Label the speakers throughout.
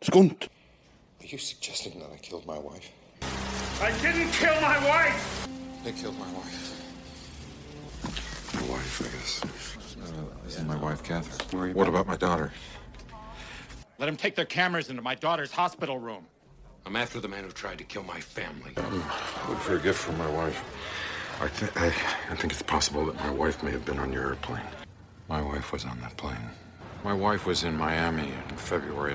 Speaker 1: skunt.
Speaker 2: Are you suggesting that I killed my wife?
Speaker 3: I didn't kill my wife!
Speaker 2: They killed my wife. My wife, I guess. this is my wife, Catherine. What about my daughter?
Speaker 4: Let them take their cameras into my daughter's hospital room.
Speaker 5: I'm after the man who tried to kill my family.
Speaker 2: Hmm. I look for a gift from my wife. I, th- I, I think it's possible that my wife may have been on your airplane. My wife was on that plane. My wife was in Miami in February.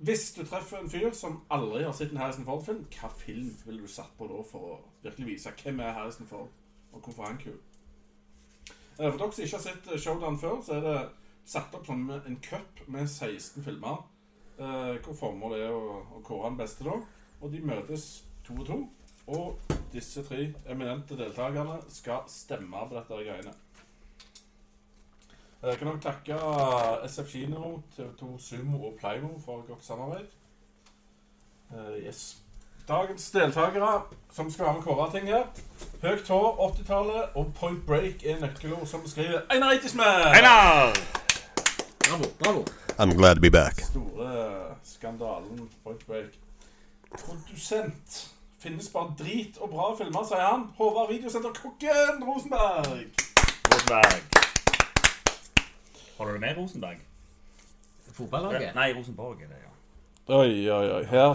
Speaker 6: hvis du treffer en fyr som aldri har sett en Harrison Ford-film, hva film ville du satt på da for å virkelig vise hvem er Harrison Ford, og hvorfor er han kul? Eh, For dere som ikke har sett eh, Showdown før, så er det satt opp som en cup med 16 filmer. Eh, hvor formålet er å, å kåre den beste, da. Og de møtes to og to. Og disse tre eminente deltakerne skal stemme på dette her greiene. Eh, Jeg kan også takke SF Kino, TV2 Sumo og Playmo for godt samarbeid. Eh, yes. Dagens deltakere som skal være med og kåre ting her. Høyt hår, 80-tallet og Point Break er nøkkelord som beskriver Einar Eitismann!
Speaker 7: Bravo, bravo.
Speaker 1: I'm glad to be back.
Speaker 6: store skandalen Point Break. Produsent. Finnes bare drit og bra filmer, sier han. Håvard Videosenter Kokken Rosenberg.
Speaker 3: Rosenberg. Holder du med Rosenberg?
Speaker 7: Fotballaget.
Speaker 3: Nei, Rosenborg er det, ja.
Speaker 6: Oi, oi, oi. Her,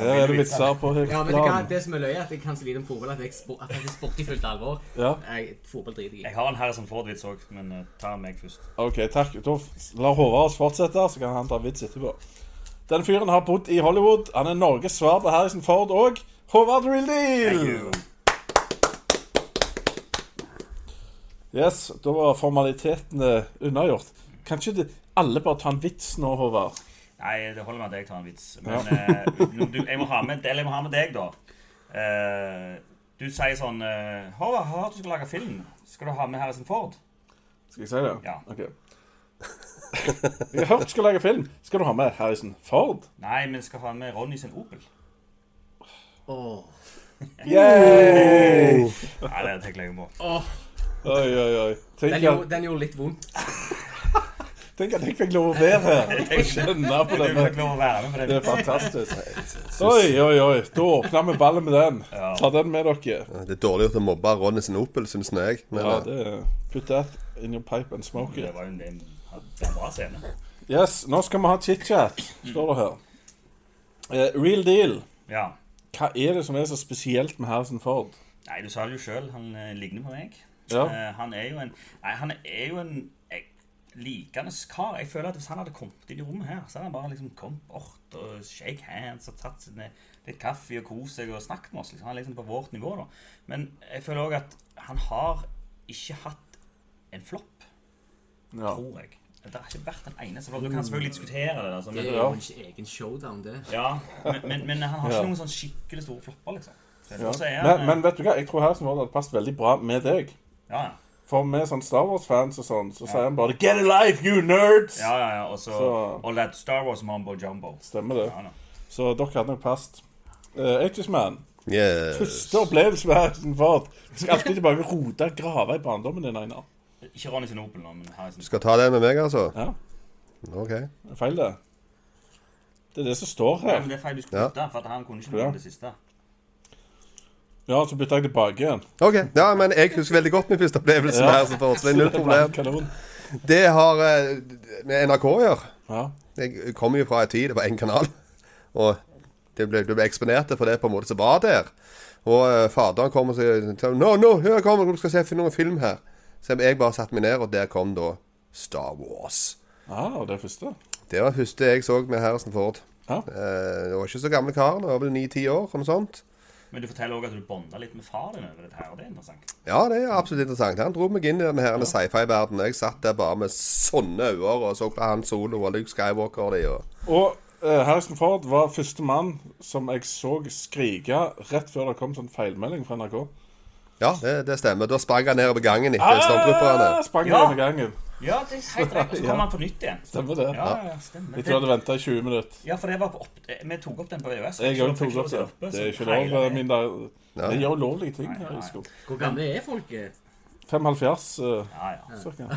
Speaker 6: her er det vitser på høyt
Speaker 7: Ja, men det, kan,
Speaker 6: plan.
Speaker 7: det som er løye, er at jeg kan så lite om fotball at jeg, spo, at jeg er sport i fullt alvor.
Speaker 6: Ja,
Speaker 7: Jeg, fotball driter jeg i.
Speaker 3: Jeg har en Harrison Ford-vits òg, men eh, ta meg først.
Speaker 6: OK, takk. Da f- lar Håvard oss fortsette, så kan han ta vits etterpå. Den fyren har bodd i Hollywood. Han er Norges svar på Harrison Ford og Håvard Real Deal. Yes, da var formalitetene unnagjort. Kan ikke det- alle bare ta en vits nå, Håvard?
Speaker 3: Nei, det holder med at jeg tar en vits. Men eh, du, jeg, må ha med, eller jeg må ha med deg, da. Eh, du sier sånn eh, 'Håvard, jeg har hørt du skal lage film. Skal du ha med Harrison Ford?'
Speaker 6: Skal jeg si det?
Speaker 3: Ja.
Speaker 6: Ok. Jeg har hørt du skal lage film. Skal du ha med Harrison Ford?
Speaker 3: Nei, men skal ha med Ronny sin Opel.
Speaker 7: Åh.
Speaker 6: Yay!
Speaker 3: Nei, det tenker jeg ikke på.
Speaker 6: Oi, oi, oi.
Speaker 7: Den
Speaker 6: Tenk
Speaker 7: gjorde,
Speaker 6: at,
Speaker 7: den gjorde litt vondt.
Speaker 6: tenk at jeg fikk lov å være her. og Kjenne på
Speaker 3: Du får
Speaker 6: denne.
Speaker 3: ikke lov å være med på
Speaker 6: Det
Speaker 3: det.
Speaker 6: er fantastisk. Oi, oi, oi. Da åpner vi ballen med den. Ta den med dere.
Speaker 1: Det er dårlig gjort å mobbe Ronny sin Opel, syns nå jeg. Men
Speaker 6: Ja,
Speaker 1: eh,
Speaker 6: det er Put that in your pipe and smoke
Speaker 3: Det
Speaker 6: it.
Speaker 3: var jo en, en, en bra scene.
Speaker 6: Yes, nå skal vi ha chit-chat, står det her. Eh, real deal.
Speaker 3: Ja.
Speaker 6: Hva er det som er så spesielt med Harrison Ford?
Speaker 3: Nei, du sa det jo sjøl. Han eh, ligner på meg.
Speaker 6: Ja.
Speaker 3: Eh, han er jo en Nei, han er jo en eh, likende kar. Jeg føler at hvis han hadde kommet inn i rommet her, så hadde han bare liksom kommet bort og shake hands og tatt sine litt kaffe og kost seg og snakket med oss. Liksom. Han er liksom på vårt nivå, da. Men jeg føler òg at han har ikke hatt en flopp,
Speaker 6: Ja.
Speaker 3: tror jeg. Det har ikke vært en eneste flopp. Du kan selvfølgelig diskutere det. Altså,
Speaker 7: Det
Speaker 3: men,
Speaker 7: er jo en egen showdown, det.
Speaker 3: ja, men, men, men han har ikke
Speaker 6: Ja.
Speaker 3: noen sånn skikkelig store flopper, liksom. Så jeg
Speaker 6: Ja.
Speaker 3: tror så er han, eh,
Speaker 6: Men, men vet du hva, jeg tror Harrison Ford hadde passet veldig bra med deg.
Speaker 3: ja, ja.
Speaker 6: For med sånn Star Wars-fans og sånn, så sier han bare 'Get a life, you nerds!'
Speaker 3: Ja, ja, ja. Og så
Speaker 6: Så-
Speaker 3: All that Star Wars Mambo Jumbo.
Speaker 6: Stemmer det.
Speaker 3: Ja, da.
Speaker 6: Så dere hadde nok passet. Uh, Man.
Speaker 1: yes.
Speaker 6: Første opplevelse med Harrison Ford. Du skal alltid tilbake og rote og grave i barndommen din, Einar.
Speaker 3: Ikke Ronny sin Opel nå, men Harrison.
Speaker 1: Skal ta det med meg, altså?
Speaker 6: Ja.
Speaker 1: OK.
Speaker 6: Det er Feil, det. Det er det som står
Speaker 3: Ja,
Speaker 6: her.
Speaker 3: men det er feil du skulle
Speaker 1: Ja.
Speaker 3: bytte, for at han kunne ikke
Speaker 6: Ja.
Speaker 3: nevne det siste.
Speaker 6: Ja, så bytter jeg tilbake igjen.
Speaker 1: Ok, ja, men Jeg husker veldig godt min første opplevelse med Harrison Ford. Så det er null
Speaker 6: Det var
Speaker 1: problem.
Speaker 6: kanon.
Speaker 1: Det har eh, med NRK å gjøre.
Speaker 6: Ja.
Speaker 1: Jeg kom jo fra en tid det var én kanal, og det ble, det ble eksponert for det på en måte som var der. Og eh, faderen kom og sa Nå, nå, her kommer du skal se fin- noen film her. Så jeg bare satte meg ned, og der kom da Star Wars.
Speaker 6: Ah, det er første.
Speaker 1: Det var det første jeg så med Harrison Ford.
Speaker 6: Ja.
Speaker 1: Eh, jeg var ikke så gamle karen, jeg var vel ni-ti år eller noe sånt.
Speaker 3: Men du forteller også at du bonda litt med far din over dette her, og det er interessant.
Speaker 1: Ja, det er absolutt interessant. Han dro meg inn i denne her sci-fi-verdenen. Jeg satt der bare med sånne øyne og så på han Solo og Luke Skywalker og de og
Speaker 6: Og eh, Harrison Ford var første mann som jeg så skrike rett før det kom sånn feilmelding fra NRK.
Speaker 1: Ja, det, det stemmer. Da sprang han nedover gangen
Speaker 6: Ah!
Speaker 1: etter stormtropperne.
Speaker 6: Sprang
Speaker 3: Ja.
Speaker 6: gjennom gangen.
Speaker 3: Ja, det er helt rett. Og så
Speaker 6: Ja.
Speaker 3: kommer han på nytt igjen.
Speaker 6: Stemmer det.
Speaker 3: Ja, ja, stemmer.
Speaker 6: Jeg tror jeg hadde venta i 20 minutter.
Speaker 3: Ja, for det var på opp... eh, Vi tok opp den på E EØS.
Speaker 6: Jeg òg tok
Speaker 3: Fikk ikke lov til å
Speaker 6: opp det.
Speaker 3: se oppe,
Speaker 6: Det
Speaker 3: så
Speaker 6: er ikke
Speaker 3: hele-
Speaker 6: lov. eh, Min der, jeg gjør ulovlige ting her i skolen.
Speaker 7: Hvor gamle er folket?
Speaker 6: 75 eh,
Speaker 3: Ja, ja.
Speaker 6: cirka.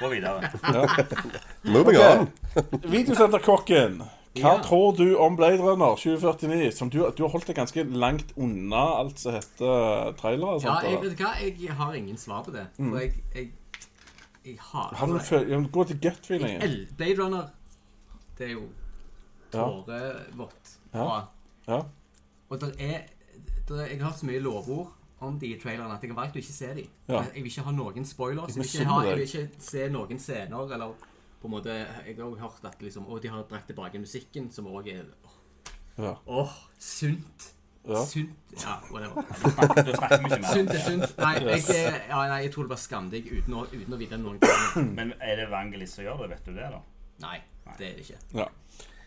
Speaker 3: Gå videre.
Speaker 1: Moving on.
Speaker 6: Videosenterkokken. Hva
Speaker 7: Ja.
Speaker 6: tror du om Blade Runner 2049? Som du, du har holdt deg ganske langt unna alt som heter trailere og
Speaker 7: Ja,
Speaker 6: sånt.
Speaker 7: jeg
Speaker 6: eller?
Speaker 7: vet hva, jeg har ingen svar på det.
Speaker 6: Mm.
Speaker 7: For jeg, jeg, jeg har
Speaker 6: Har du en føl- ja, men Gå til gut feelingen.
Speaker 7: El- Blade Runner, det er jo
Speaker 6: Ja.
Speaker 7: tårevått.
Speaker 6: Ja.
Speaker 7: bra.
Speaker 6: Ja.
Speaker 7: Og der er, der er, jeg har hørt så mye lovord om de trailerne at jeg har valgt å ikke se de.
Speaker 6: Ja.
Speaker 7: Jeg vil ikke ha noen spoilers.
Speaker 6: Jeg
Speaker 7: Jeg vil ikke, ha,
Speaker 6: misunner
Speaker 7: jeg vil ikke se noen scener eller på en måte, Jeg har jo hørt at liksom, å, de har dratt tilbake musikken, som òg er
Speaker 6: Ja.
Speaker 7: Åh, sunt.
Speaker 6: Ja.
Speaker 7: Sunt Ja, whatever.
Speaker 3: Du snakker mye mer.
Speaker 7: Sunt er sunt. Nei, jeg, ja, nei, jeg tror det var skamdig uten å, uten å vite noen ting.
Speaker 3: Men er det Vangelis som gjør det? Vet du det, da?
Speaker 7: Nei, det er det ikke.
Speaker 6: Ja.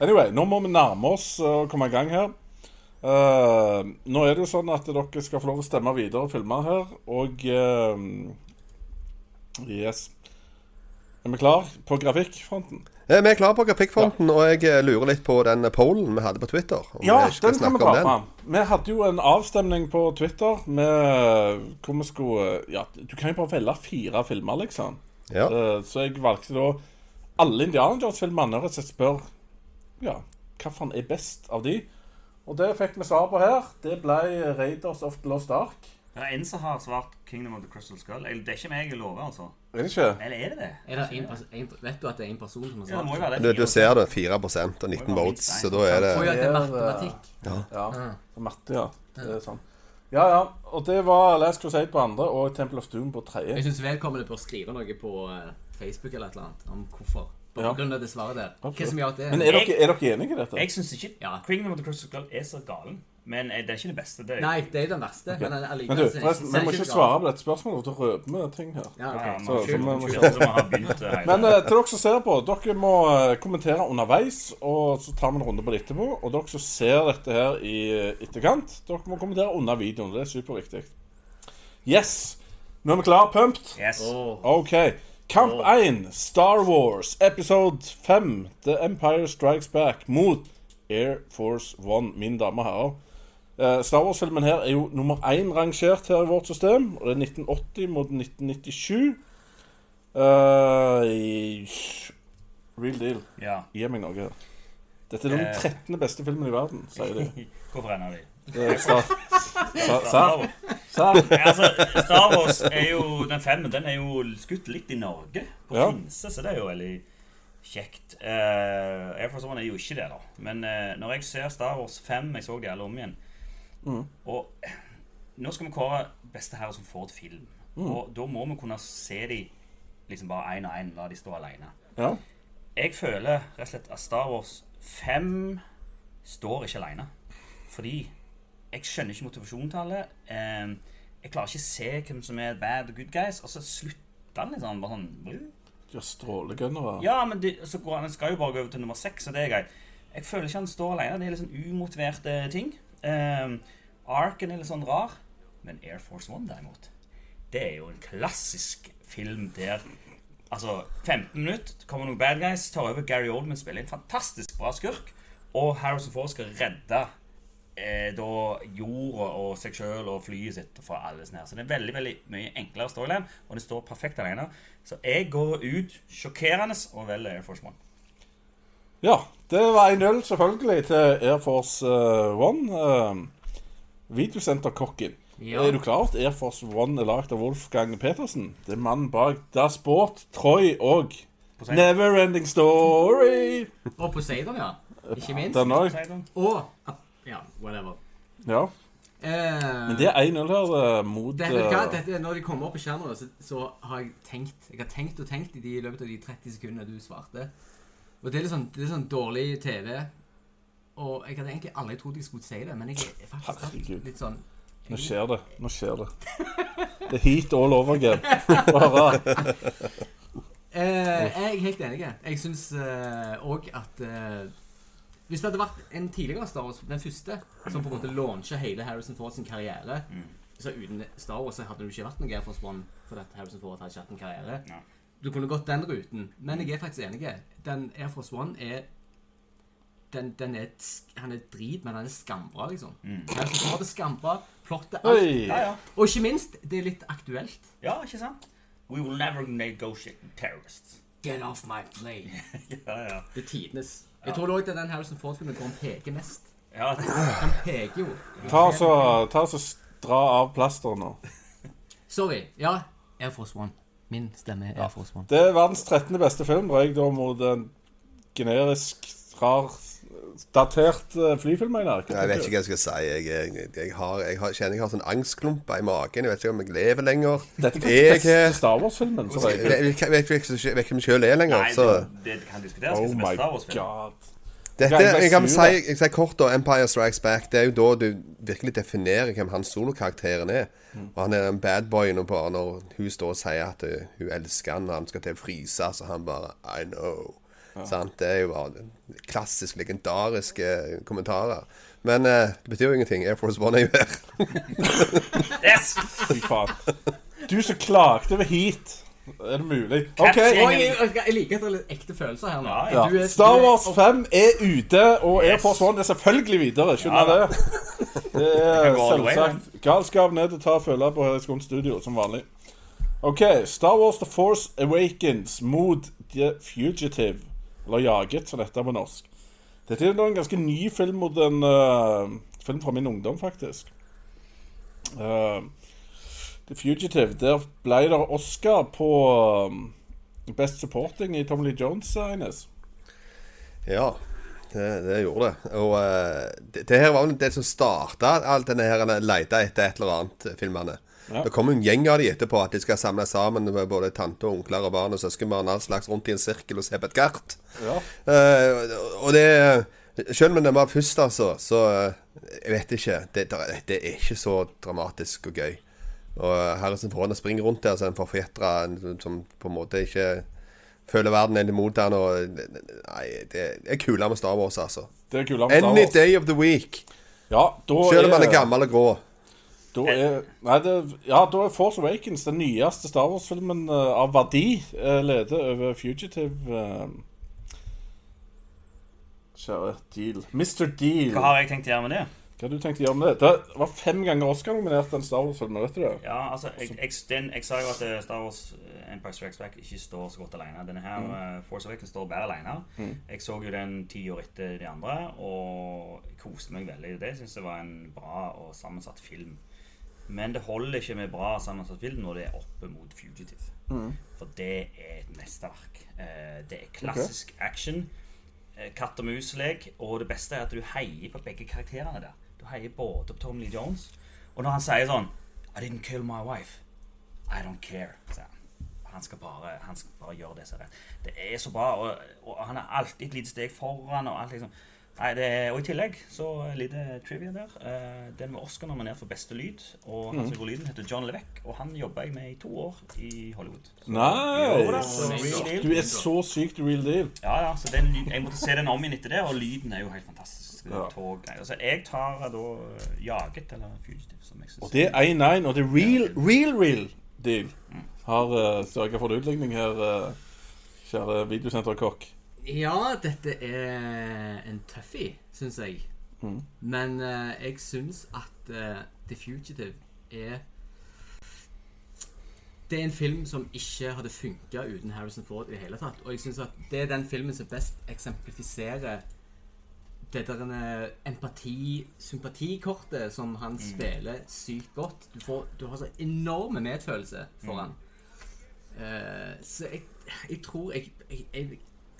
Speaker 6: Anyway, nå må vi nærme oss eh, og komme i gang her. Eh, nå er det jo sånn at dere skal få lov å stemme videre og filme her, og eh, Yes. Er vi klar på grafikkfronten?
Speaker 1: Eh, Vi er klare på grafikkfronten, og jeg eh, lurer litt på den pollen vi hadde på Twitter. om
Speaker 6: Ja,
Speaker 1: vi skal
Speaker 6: den kan
Speaker 1: snakke
Speaker 6: vi
Speaker 1: om
Speaker 6: ta fram. Vi hadde jo en avstemning på Twitter med eh, hvor vi skulle eh, Ja, du kan jo bare velge fire filmer, liksom.
Speaker 1: Ja.
Speaker 6: Eh, Så jeg valgte da alle Indiana Jones-filmene og rett og slett spør Ja, hva faen er best av de? Og det fikk vi svar på her. Det ble Raiders of the Lost Ark.
Speaker 3: Det er en som har svart 'Kingdom of the Crystal Skull'. Jeg- Det er ikke meg jeg lover, altså.
Speaker 6: Er det ikke?
Speaker 3: Eller er det det?
Speaker 7: Er det en, pers- en, vet du at det er en person som har
Speaker 3: Ja, det må
Speaker 7: sagt
Speaker 3: jo være det.
Speaker 1: Du, du ser det. 4 og 19 votes, så da er det
Speaker 7: Å ja, det er matematikk.
Speaker 6: Ja. Og Matte, ja. Det er sånn. Ja, ja. Og det var Last Crusade på andre og Temple of Doom på tredje.
Speaker 7: Jeg syns vedkommende bør skrive noe på eh, Facebook eller et eller annet om hvorfor. På
Speaker 6: Ja.
Speaker 7: grunn av det svaret der. Hva
Speaker 6: Absolutt.
Speaker 7: som gjør at det
Speaker 6: Men er dere, er dere enige i dette?
Speaker 3: Jeg syns ikke
Speaker 7: Ja.
Speaker 3: 'Kingdom of the Crystal Skull' er så galen. Men eh, det er ikke det beste. Det er
Speaker 7: Nei, det er jo den verste. Men allikevel
Speaker 6: Men du,
Speaker 7: så er det
Speaker 6: forresten,
Speaker 7: så
Speaker 6: vi
Speaker 7: er
Speaker 6: må
Speaker 7: det
Speaker 6: ikke
Speaker 7: så
Speaker 6: svare på dette spørsmålet, for da røper vi ting her.
Speaker 7: galt. Ja,
Speaker 3: Ja,
Speaker 7: ok.
Speaker 3: men,
Speaker 6: Så- så
Speaker 3: kjør,
Speaker 6: må-
Speaker 3: kjør, kjør, så vi har begynt eh, hele
Speaker 6: Men eh, til dere som ser på, dere må eh, kommentere underveis, og så tar vi en runde på det etterpå. Og dere som ser dette her i eh, etterkant, dere må kommentere under videoen. Det er superviktig. Yes! Nå er vi klar, pumped?
Speaker 3: Yes.
Speaker 6: OK. Kamp 1, Star Wars, episode 5, The Empire Strikes Back, mot Air Force One, mine damer og herrer. Eh, Star Wars-filmen her er jo nummer én rangert her i vårt system. Og det er 1980 mot 1997. Eh, i- real deal.
Speaker 3: Ja.
Speaker 6: Gi meg noe. her. Dette er den
Speaker 3: Eh.
Speaker 6: 13. beste filmen i verden, sier de.
Speaker 3: Hvorfor ender de?
Speaker 6: Eh, Star- Star- Star-
Speaker 3: Ja,
Speaker 6: Star-
Speaker 3: altså, Star Wars er jo Den femmen den er jo skutt litt i Norge, på
Speaker 6: Ja.
Speaker 3: Finse, så det er jo veldig kjekt. Eh, Air Force One er jo ikke det, da. Men eh, når jeg ser Star Wars 5 Jeg så de alle om igjen.
Speaker 6: Mm.
Speaker 3: Og eh, nå skal vi kåre beste herre som får et film.
Speaker 6: Mm.
Speaker 3: Og da må vi kunne se de liksom bare én og én, la de stå alene.
Speaker 6: Ja.
Speaker 3: Jeg føler rett og slett at Star Wars 5 står ikke alene. Fordi jeg skjønner ikke motivasjonen til alle. Eh, Jeg klarer ikke å se hvem som er bad og good guys. Og så slutter han litt sånn. bare sånn
Speaker 6: De har strålegønnere.
Speaker 3: Ja, men det, så går han, han skal jo bare gå over til nummer seks, og det er greit. Jeg føler ikke han står alene. Det er litt sånn umotiverte ting. Eh, Arken er litt sånn rar. Men Air Force One, derimot, det er jo en klassisk film der Altså, 15 minutter, kommer noen bad guys, tar over Gary Oldman, spiller en fantastisk bra skurk, og Harrison Ford skal redde eh, da jorda og seg sjøl og flyet sitt fra alle sånne her. Så det er veldig veldig mye enklere storyline, og det står perfekt alene. Så jeg går ut sjokkerende og velger Air Force One.
Speaker 6: Ja, det var 1-0 selvfølgelig til Air Force eh, One. Uh, Videosenterkokken.
Speaker 7: Ja.
Speaker 6: Er du klar over at Air Force One er lagd av Wolfgang Petersen? Det er mannen bak Das Båt, Troy og
Speaker 3: Poseidon.
Speaker 6: Neverending Story.
Speaker 7: Og Poseidon, ja. Ikke minst.
Speaker 6: Den òg.
Speaker 3: Poseidon.
Speaker 7: Og Ja, whatever.
Speaker 6: Ja.
Speaker 7: Eh,
Speaker 6: Men det er 1-0 her eh, mot
Speaker 7: dette, vet du hva,
Speaker 6: eh,
Speaker 7: dette, når de kommer opp i skjermen, så, så har jeg tenkt Jeg har tenkt og tenkt i, de, i løpet av de 30 sekundene du svarte. Og det er litt sånn, det er sånn dårlig TV. Og jeg hadde egentlig aldri trodd jeg skulle si det, men jeg er faktisk
Speaker 6: Herregud.
Speaker 7: litt sånn
Speaker 6: Nå skjer det. Nå skjer det. Det er heat all over again. Bare.
Speaker 7: Eh, jeg er helt enig. Jeg syns òg at eh, Hvis det hadde vært en tidligere Star Wars, den første, som på en måte launchet hele Harrison Ford sin karriere Så uten Star Wars så hadde du ikke vært noe Air Force One fordi at Harrison Ford hadde ikke hatt en karriere.
Speaker 3: Nei.
Speaker 7: Du kunne gått den ruten, men jeg er faktisk enig. Den Air Force One er den, den er, et sk- han er drit, men han er skambra, liksom. Harrison Ford er skambra. Plottet alt.
Speaker 3: Ja, ja.
Speaker 7: Og ikke minst, det er litt aktuelt.
Speaker 3: ja, ikke sant? We will never negotiate with terrorists.
Speaker 7: Get off my plane.
Speaker 3: Ja, ja.
Speaker 7: Det er tidenes. Jeg tror også det er den Harrison Ford-filmen hvor han peker mest.
Speaker 3: ja det-
Speaker 7: Han peker jo.
Speaker 6: Ta så, ta så s- dra av plasteret nå.
Speaker 7: Sorry. Ja, Air Force One. Min stemme er Air Force One.
Speaker 6: Det er verdens 13. beste film, røyk da mot en generisk, rar, datert eh, flyfilm, mener jeg.
Speaker 1: Jeg vet ikke hva jeg skal si. Jeg, jeg, jeg, har, jeg har, kjenner jeg har sånn angstklumper i magen. Jeg vet ikke om jeg lever lenger.
Speaker 6: Dette er
Speaker 1: Jeg
Speaker 6: den
Speaker 1: er-
Speaker 6: beste Star Wars-filmen. så
Speaker 1: Jeg
Speaker 6: røyk.
Speaker 1: vet ikke vet ikke- vet ikke om jeg selv er lenger.
Speaker 3: Nei,
Speaker 1: Så.
Speaker 3: det, det kan diskuteres.
Speaker 6: Oh
Speaker 3: hva som er
Speaker 6: my
Speaker 3: Star Wars-film.
Speaker 6: god.
Speaker 1: Dette,
Speaker 6: Jeg er bare
Speaker 1: jeg kan
Speaker 6: sur,
Speaker 1: si,
Speaker 6: da.
Speaker 1: jeg sier kort da, Empire Strikes Back. Det er jo da du virkelig definerer hvem hans solokarakteren er. Og han er den badboyen og bare når hun står og sier at uh, hun elsker han, og han skal til å fryse, så han bare I know. Sant? Det er jo bare klassisk legendariske kommentarer. Men eh, det betyr jo ingenting. Air Force One er jo her.
Speaker 3: Yes!
Speaker 6: Fy faen. Du som klagde over heat. Er det mulig? OK.
Speaker 7: Oi, jeg, jeg liker at det er litt ekte følelser her nå.
Speaker 3: Ja,
Speaker 6: Ja.
Speaker 7: Du er-
Speaker 6: Star
Speaker 7: du er-
Speaker 6: Wars 5 er ute, og Air
Speaker 3: Yes.
Speaker 6: Force One er selvfølgelig videre. Skjønner
Speaker 3: Ja, da.
Speaker 6: det? Det er
Speaker 3: kan gå all the way,
Speaker 6: selvsagt galskap ned til å ta og følge på Høgskolen Studio, som vanlig. OK. Star Wars The Force Awakens mot The Fugitive. Eller Jaget, som dette er på norsk. Dette er nå en ganske ny film mot en eh, film fra min ungdom, faktisk. Eh, The Fugitive, der ble det Oscar på eh, Best Supporting i Tommy Lee Jones, Ines.
Speaker 1: Ja, det, det gjorde det. Og eh, det, det her var vel det som starta all denne her leita etter et eller annet-filmene. Det kom en gjeng av de etterpå, at de skal samle sammen med både tante og onkler og barn og søskenbarn og all slags rundt i en sirkel og se på et kart. Eh, og det Selv om den var først, altså, så eh, Jeg vet ikke. Det, der- det er ikke så dramatisk og gøy. Og Harrison Forhånd springer rundt der som en forfjetra en som på en måte ikke føler verden er imot han og Nei, det er kulere med Star Wars, altså.
Speaker 6: Det er kulere med Star
Speaker 1: Any
Speaker 6: Wars.
Speaker 1: day of the week.
Speaker 6: Ja, da
Speaker 1: Selv om han er
Speaker 6: er,
Speaker 1: gammel og grå.
Speaker 6: da er, nei, det, ja, da er Force Awakens den nyeste Star Wars-filmen eh, av verdi eh, leder over Fugitive eh, Kjære Deal. Mr. Deal.
Speaker 3: Hva
Speaker 6: Hva
Speaker 3: har jeg tenkt å gjøre med det?
Speaker 6: har du tenkt å gjøre med det? Det var fem ganger Oscar-nominert, den Star Wars-filmen. Vet du det?
Speaker 3: Ja, altså, jeg, jeg, den, jeg sa jo at eh, Star Wars eh, Empire Strikes Back ikke står så godt alene. Denne her, eh, Force Awakens står bare alene. Jeg så jo den ti år etter de andre, og koste meg veldig. Det syns jeg var en bra og sammensatt film. Men det holder ikke med bra sammensatt film når det er oppe mot Fugitive. For det er et mesterverk. Eh, Det er klassisk action. eh, Katt og mus-lek. Og det beste er at du heier på begge karakterene der. Du heier både på Tom Lee Jones, og når han sier sånn I didn't kill my wife. I don't care, sier han. Han skal bare, han skal bare gjøre det som er rett. Det er så bra, og, og han er alltid et lite steg foran. Og alt liksom. Nei, det er, og i tillegg så en liten trivia der. Eh, den var Oscar nominert for beste lyd. Og han som gjorde lyden, heter John Levesque, og han jobba jeg med i to år i Hollywood. Så- Jo da,
Speaker 6: Nice!
Speaker 3: så real deal.
Speaker 6: Du er så sykt real deal.
Speaker 3: Ja, ja, så den, jeg måtte se den om igjen etter det, og lyden er jo helt fantastisk. Ja. Toggreier. Så jeg tar da eh, Jaget, eller Fugitive, som jeg
Speaker 6: Og
Speaker 3: syns
Speaker 6: det er 1-1, og det er real, real, real deal. Har uh, sørga for en utligning her, eh, kjære videosenterkokk.
Speaker 7: Ja, dette er en tøffie, syns jeg.
Speaker 6: Mm.
Speaker 7: Men eh, jeg syns at eh, The Fugitive er Det er en film som ikke hadde funka uten Harrison Ford i det hele tatt. Og jeg syns at det er den filmen som best eksemplifiserer det der eh, empati-sympatikortet som han spiller sykt godt. Du, får, du har så enorme medfølelse for han. Eh, så jeg, jeg tror jeg, jeg, jeg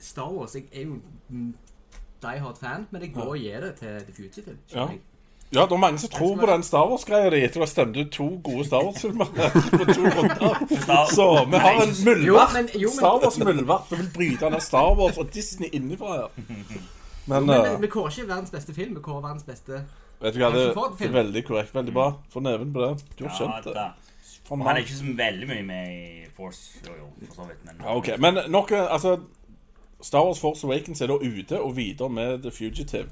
Speaker 7: Star Wars Jeg er jo en die hard fan, men jeg må gi det til The Fugitive.
Speaker 6: Ja.
Speaker 7: skjønner jeg.
Speaker 6: Ja, det er mange som tror på den Star Wars-greia di etter å ha stemt ut to gode Star Wars-filmer. på to runder. Så vi har en
Speaker 7: Jo, men-
Speaker 6: muldvarp.
Speaker 7: jo, men-
Speaker 6: Star Wars-muldvarp som vil bryte ned Star Wars og Disney innenfra her. Men
Speaker 7: Men
Speaker 6: eh,
Speaker 7: vi- vi kårer ikke verdens beste film, vi kårer verdens beste
Speaker 6: vet du hva, det det
Speaker 7: Ford-film.
Speaker 6: er veldig korrekt. Veldig bra. Få neven på det. Du har skjønt det. Faen,
Speaker 3: Han er
Speaker 6: mann.
Speaker 3: ikke så veldig mye med i Force, jo, jo, for så vidt, men
Speaker 6: Ja, OK. Men nok eh, Altså, Star Wars Force Awakens er da ute og videre med The Fugitive.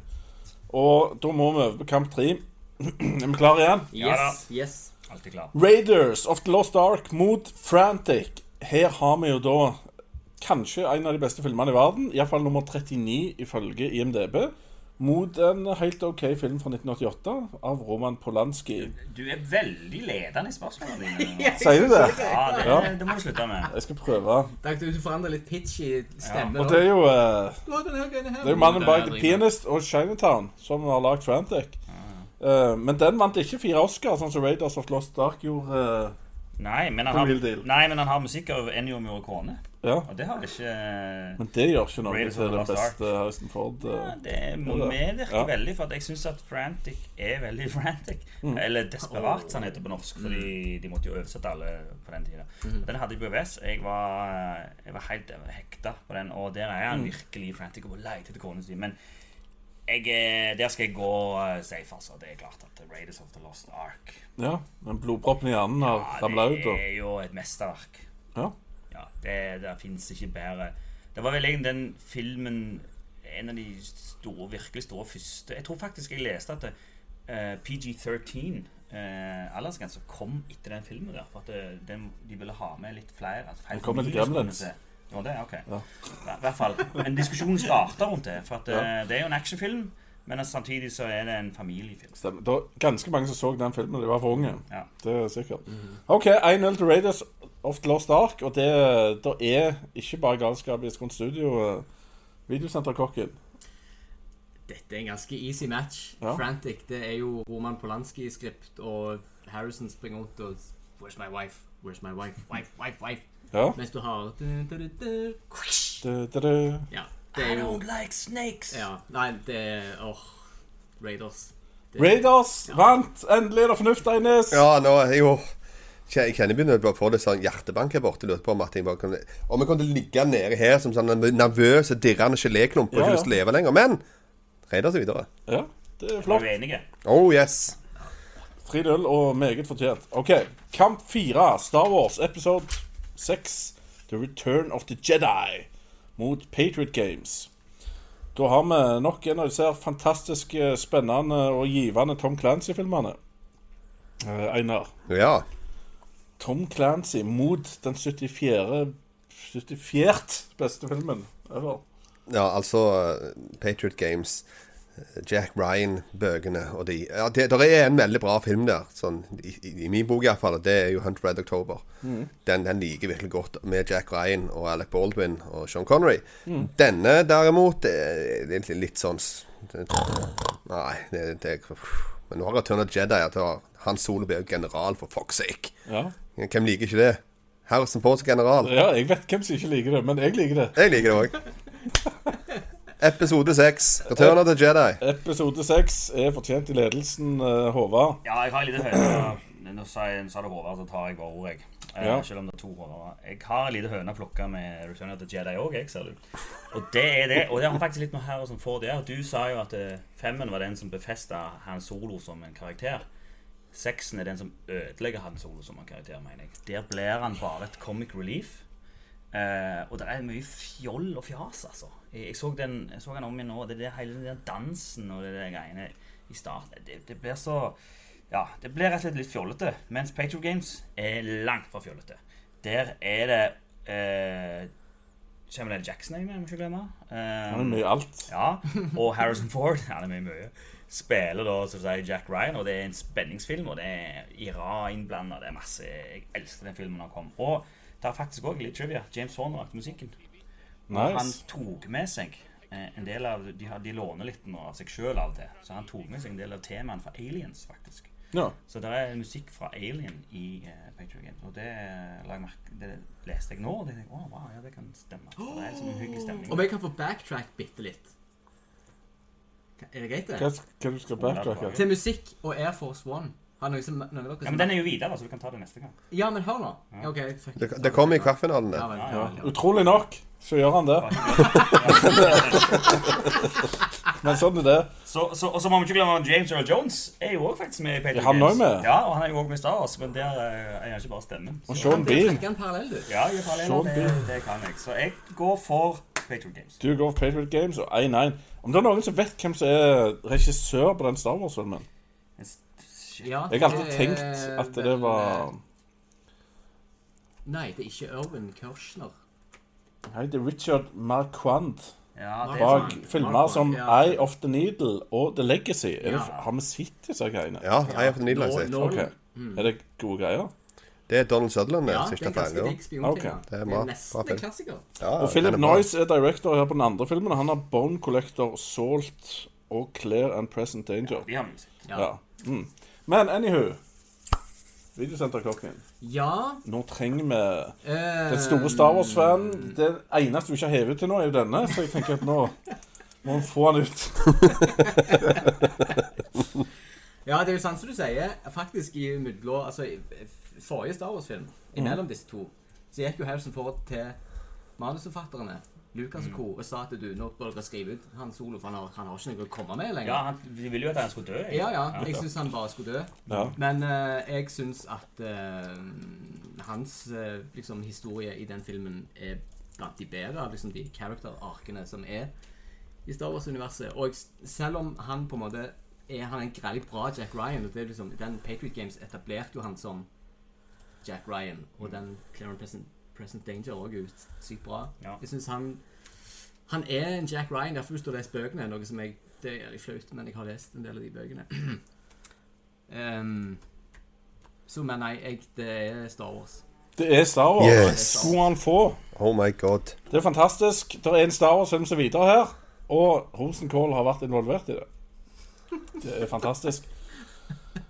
Speaker 6: Og da må vi over på kamp tre. er vi klare igjen?
Speaker 7: Yes, yes.
Speaker 3: Alltid klar.
Speaker 6: Raiders of the Lost Ark mot Frantic. Her har vi jo da kanskje en av de beste filmene i verden. Iallfall nummer 39 ifølge IMDb. Mot en helt OK film fra 1988 av Roman Polanski.
Speaker 3: Du er veldig ledende i spørsmålene dine.
Speaker 6: Sier du det?
Speaker 3: Ja, det, det må du slutte med.
Speaker 6: Jeg skal prøve.
Speaker 7: Takk, du forandrer litt pitch i stemmen.
Speaker 6: Og det er jo, eh, det er jo mannen
Speaker 7: Det
Speaker 6: bak
Speaker 7: er
Speaker 6: The
Speaker 7: riktig.
Speaker 6: Pianist og Chinatown som har lagd Frantic. Eh, men den vant ikke fire Oscar, sånn som Raiders of the Lost Ark gjorde. eh,
Speaker 3: Nei, men han
Speaker 6: Tom Hill
Speaker 3: har,
Speaker 6: Deal.
Speaker 3: nei, men han har musikk av Ennio Morricone.
Speaker 6: ja.
Speaker 3: Og det har ikke
Speaker 6: Men det gjør ikke noe
Speaker 3: Raiders of
Speaker 6: til
Speaker 3: the
Speaker 6: den
Speaker 3: Lost Ark.
Speaker 6: beste Harrison Ford. eh.
Speaker 3: Det må
Speaker 6: det.
Speaker 3: medvirke
Speaker 6: Ja.
Speaker 3: veldig, for at jeg syns at Frantic er veldig frantic.
Speaker 6: Mm.
Speaker 3: Eller Desperat, som det heter på norsk, fordi de måtte jo oversette alle på den tida. Den hadde jeg på VS. Jeg var, jeg var helt hekta på den, og der
Speaker 6: Mm.
Speaker 3: er han virkelig frantic og på leite etter kona si. Men jeg, er- der skal jeg gå eh, safe, altså. Det er klart at Raiders of the Lost Ark
Speaker 6: Ja, men blodproppen i hjernen har
Speaker 3: ja,
Speaker 6: ramla ut.
Speaker 3: Det
Speaker 6: Og,
Speaker 3: er jo et mesterverk.
Speaker 6: ja.
Speaker 3: Ja, det, det fins ikke bedre. Det var vel egentlig den filmen En av de store, virkelig store første Jeg tror faktisk jeg leste at det, eh, PG-13 eh, aldersgrense kom etter den filmen der. For at eh, den, de ville ha med litt flere. At feil
Speaker 6: Den kom etter
Speaker 3: familier skulle
Speaker 6: Gremlins.
Speaker 3: se. Ja, det, ok.
Speaker 6: Ja.
Speaker 3: Ja, I hvert fall. Men diskusjonen starta rundt det. For at, eh, det er jo en actionfilm, men samtidig så er det en familiefilm.
Speaker 6: Stemmer. Det var ganske mange som så den filmen da de var for unge.
Speaker 3: Ja.
Speaker 6: Det er sikkert. OK, 1-0 til Raiders of the Lost Ark. Og det, der er ikke bare galskap i Skund Studio. eh, Videosenterkokken.
Speaker 7: Dette er en ganske easy match.
Speaker 6: Ja.
Speaker 7: Frantic det er jo Roman Polanski-skript, og Harrison springer rundt og Where's my wife? Where's my wife? Wife, wife, wife.
Speaker 6: Ja.
Speaker 7: Mens du har du, du, du, du. Quish!
Speaker 6: Du, du, du.
Speaker 7: Ja, det er jo
Speaker 3: like snakes.
Speaker 7: ja, Nei, det er Åh, Raiders.
Speaker 6: Raiders vant! Endelig er det fornuft, Eines.
Speaker 1: Ja, nå er jeg jo Jeg kjenner jeg begynner å få litt sånn hjertebank her borte. Lurte på om at jeg bare kunne Om jeg kunne ligge nede her som sånn nervøse, dirrende geléklump og
Speaker 6: Ja,
Speaker 1: ikke
Speaker 6: ja.
Speaker 1: lyst til å leve lenger. Men Reidar seg videre.
Speaker 6: Ja, det er
Speaker 3: Er
Speaker 6: flott.
Speaker 3: du enige?
Speaker 1: Oh yes.
Speaker 6: 3-0 og meget fortjent. OK, kamp 4, Star Wars episode 6, The Return of the Jedi, mot Patriot Games. Da har vi nok en av disse her fantastiske, eh, spennende og givende Tom Clancy-filmene. Eh, Einar.
Speaker 1: Ja.
Speaker 6: Tom Clancy mot den 74. 74. beste filmen ever.
Speaker 1: Ja, altså eh, Patriot Games, eh, Jack Ryan-bøkene og de Ja, det der er en veldig bra film der, sånn i, i, i min bok iallfall, og det er jo 'Hunt for Red October'. Den, den liker jeg virkelig godt, med Jack Ryan og Alec Baldwin og Sean Connery. Denne derimot det er egentlig litt sånn s- det- Nei, det, det Men nå har Return of the Jedi at Hans Solo blir general, for fuck's sake.
Speaker 6: Ja.
Speaker 1: Hvem liker ikke det? Harrison Ford som general.
Speaker 6: ja, jeg vet hvem som ikke liker det, men jeg liker det.
Speaker 1: Jeg liker det òg. Episode seks. Return of the Jedi.
Speaker 6: Episode 6 er fortjent i ledelsen, eh, Håvard.
Speaker 3: Ja, jeg har en liten høne. Nå sa, jeg, sa det Håvard, så tar jeg bare ordet, jeg. Eh,
Speaker 6: Ja.
Speaker 3: Selv om det er to Håvard. Jeg har en liten høne å plukke med Return of the Jedi òg, jeg, ser du. Og det er det. Og det har faktisk litt med her og som får det her. Du sa jo at eh, femmen var den som befesta Han Solo som en karakter. Seksen er den som ødelegger Han Solo som en karakter, mener jeg. Der blir han bare et comic relief. Eh, og det er mye fjoll og fjas, altså. Jeg, jeg, så den, jeg så den om igjen nå. Det er hele den der dansen og det der greiene i starten. Det, det blir så Ja, det blir rett og slett litt fjollete. Mens Patriot Games er langt fra fjollete. Der er det uh, Samuel L. Jackson, jeg må ikke glemme. Eh,
Speaker 6: Han er mye alt.
Speaker 3: ja, og Harrison Ford ja, det er mye, mye, spiller da som sier Jack Ryan, og det er en spenningsfilm, og det er Iran innblanda, det er masse Jeg elsker den filmen han kom. Og det er faktisk òg litt trivia. James Horner lagde musikken. Og Han
Speaker 6: Nice.
Speaker 3: tok med seg eh, en del av De, har- de låner litt nå av seg sjøl av og til, så han tok med seg en del av temaene fra Aliens, faktisk.
Speaker 6: Ja.
Speaker 3: Så det er musikk fra Alien i eh, Patriot Games, og det, la jeg merke, det leste jeg nå, og det tenkte jeg å, wow, ja, det kan stemme. Så Det er liksom en hyggelig stemning.
Speaker 7: Om jeg kan få backtrack bitte litt? Er det greit,
Speaker 6: Hva,
Speaker 7: det?
Speaker 6: hva du skal backtracke?
Speaker 7: Til musikk og Air Force One. Har noen som, noen av dere
Speaker 3: Ja,
Speaker 7: som
Speaker 3: men den er jo videre, så du kan ta det neste gang.
Speaker 7: Ja, men hør nå. Ja, ok, fuck.
Speaker 1: Det, det kommer i kvartfinalen, det.
Speaker 7: Ja, vel, ja, vel, ja.
Speaker 6: Utrolig nok så gjør han det. Men sånn er det.
Speaker 3: Så, så, og så må vi ikke glemme at James Earl Jones er jo også faktisk med i Patriot
Speaker 6: Ja, han er
Speaker 3: Games.
Speaker 6: med.
Speaker 3: Ja, og han er jo også med i Star Wars, men der eh, er han ikke bare stemmen. Så,
Speaker 6: Og Sean Bean.
Speaker 7: Trekke en parallell, du.
Speaker 3: ja, jeg er parallell,
Speaker 6: Sean
Speaker 3: det,
Speaker 6: Bean.
Speaker 3: det kan jeg. Så jeg går for Patriot Games.
Speaker 6: Duke of Patriot Games og 1-1. Om det er noen som vet hvem som er regissør på den Star Wars-filmen?
Speaker 3: Mens- Shit.
Speaker 7: Ja,
Speaker 6: Jeg har alltid
Speaker 7: det er
Speaker 6: tenkt at det
Speaker 7: vel,
Speaker 6: var
Speaker 7: Nei, det er ikke Erwin Kirschner.
Speaker 6: Nei, det er Richard Marquand
Speaker 3: Ja, det er
Speaker 6: bak
Speaker 3: sånn.
Speaker 6: filmer
Speaker 7: Marquand,
Speaker 6: som
Speaker 7: ja.
Speaker 6: Eye of the Needle og The Legacy. Er det,
Speaker 7: Ja.
Speaker 6: har vi sett disse greiene?
Speaker 1: Ja, jeg har fått en liten
Speaker 7: Nå-
Speaker 1: lang sitt.
Speaker 7: nå-
Speaker 6: Ok.
Speaker 7: Mm.
Speaker 6: Er det gode greier?
Speaker 1: Det er Donald Sutherland.
Speaker 7: Ja,
Speaker 1: Ja,
Speaker 7: det er
Speaker 1: siste
Speaker 7: en ganske
Speaker 1: feil.
Speaker 7: digg spionting.
Speaker 6: Ok,
Speaker 7: ja.
Speaker 6: det
Speaker 7: Det
Speaker 1: er bra.
Speaker 7: er
Speaker 1: Bra
Speaker 7: nesten
Speaker 1: film.
Speaker 7: en klassiker.
Speaker 1: Ja,
Speaker 6: Og Philip
Speaker 1: den er bra.
Speaker 6: Noyce er director her på den andre filmen. Han har Bone Collector, Salt og Clear and Present Danger.
Speaker 3: De har vi jo sett.
Speaker 6: Ja. Mm. Men anywho Videosenterklokken.
Speaker 7: Ja
Speaker 6: Nå trenger vi
Speaker 7: eh,
Speaker 6: Den store Star Wars-fanen Det eneste du ikke har hevet ut til nå, er jo denne. Så jeg tenker at nå må vi få den ut.
Speaker 7: Ja, det er jo sant som du sier. Faktisk i middelblå Altså, i i forrige Star Wars-film,
Speaker 6: Mm.
Speaker 7: imellom disse to, så gikk jo Harrison Ford til manusforfatterne, Lucas og co., og sa at du, nå bør dere skrive ut han solo, for han har, han har ikke noe å komme med lenger.
Speaker 3: Ja, han, de ville jo at han skulle dø. egentlig.
Speaker 7: Ja, ja. Jeg syns han bare skulle dø.
Speaker 6: Ja.
Speaker 7: Men eh, jeg syns at eh, hans eh, liksom, historie i den filmen er blant de bedre av liksom, de character-arkene som er i Star Wars-universet. Og jeg, s- selv om han på en måte er han er en grei bra Jack Ryan og det er liksom, Den Patriot Games etablerte jo han som Jack Ryan, og den Clarence Present, Present Danger også er jo sykt bra.
Speaker 3: Ja.
Speaker 7: Jeg syns han han er en Jack Ryan, derfor du står og leser bøkene. Noe som jeg, det er litt flaut, men jeg har lest en del av de bøkene. Ehm, så, men nei, jeg, det er Star Wars.
Speaker 6: Det er Star Wars.
Speaker 1: Yes.
Speaker 6: Skulle han få.
Speaker 1: Oh my god.
Speaker 6: Det er fantastisk. Det er en Star Wars-film som er videre her. Og Rosenkål har vært involvert i det. Det er fantastisk.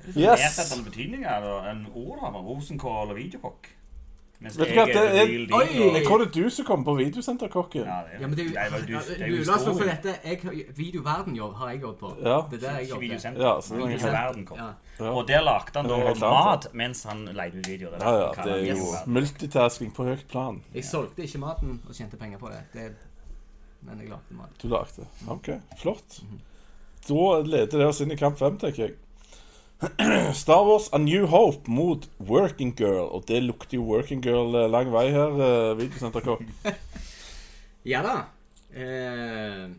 Speaker 3: Yes.
Speaker 6: Yes!
Speaker 3: en betydning eller en ord av rosenkål og videokokk. Mens
Speaker 6: Vet du
Speaker 3: jeg
Speaker 6: hva,
Speaker 3: er
Speaker 6: det
Speaker 3: the
Speaker 6: er-
Speaker 3: real deal,
Speaker 7: Oi!
Speaker 3: og-
Speaker 6: Jeg tror det er du som kom på videosenterkokken.
Speaker 3: Ja,
Speaker 7: Ja, men det er jo,
Speaker 3: Nei, men du-
Speaker 7: ja,
Speaker 3: det er jo
Speaker 7: du, la oss nå få
Speaker 3: historien.
Speaker 7: dette. Jeg, videoverden jo, har jeg gått på.
Speaker 6: Ja.
Speaker 7: Det er der jeg
Speaker 3: Ikke
Speaker 7: gått til.
Speaker 3: videosenter.
Speaker 6: Ja, så det er
Speaker 3: Videosenter.
Speaker 6: ingen-
Speaker 3: Verden kom.
Speaker 7: Ja.
Speaker 3: Og der lagde han
Speaker 6: Det er
Speaker 3: da
Speaker 6: helt sant,
Speaker 3: mat mens han leide ut videoer.
Speaker 6: Ja, ja, det er jo multitasking på høyt plan
Speaker 7: Jeg solgte ikke maten og tjente penger på det. det men jeg lagde mat.
Speaker 6: du lagde. OK, flott.
Speaker 3: Mhm.
Speaker 6: Da leder det oss inn i kamp fem, tenker jeg. Star Wars A New Hope mot Working Girl. Og det lukter jo Working Girl eh, lang vei her, eh, videosenterkokk.
Speaker 7: Ja da. Eh,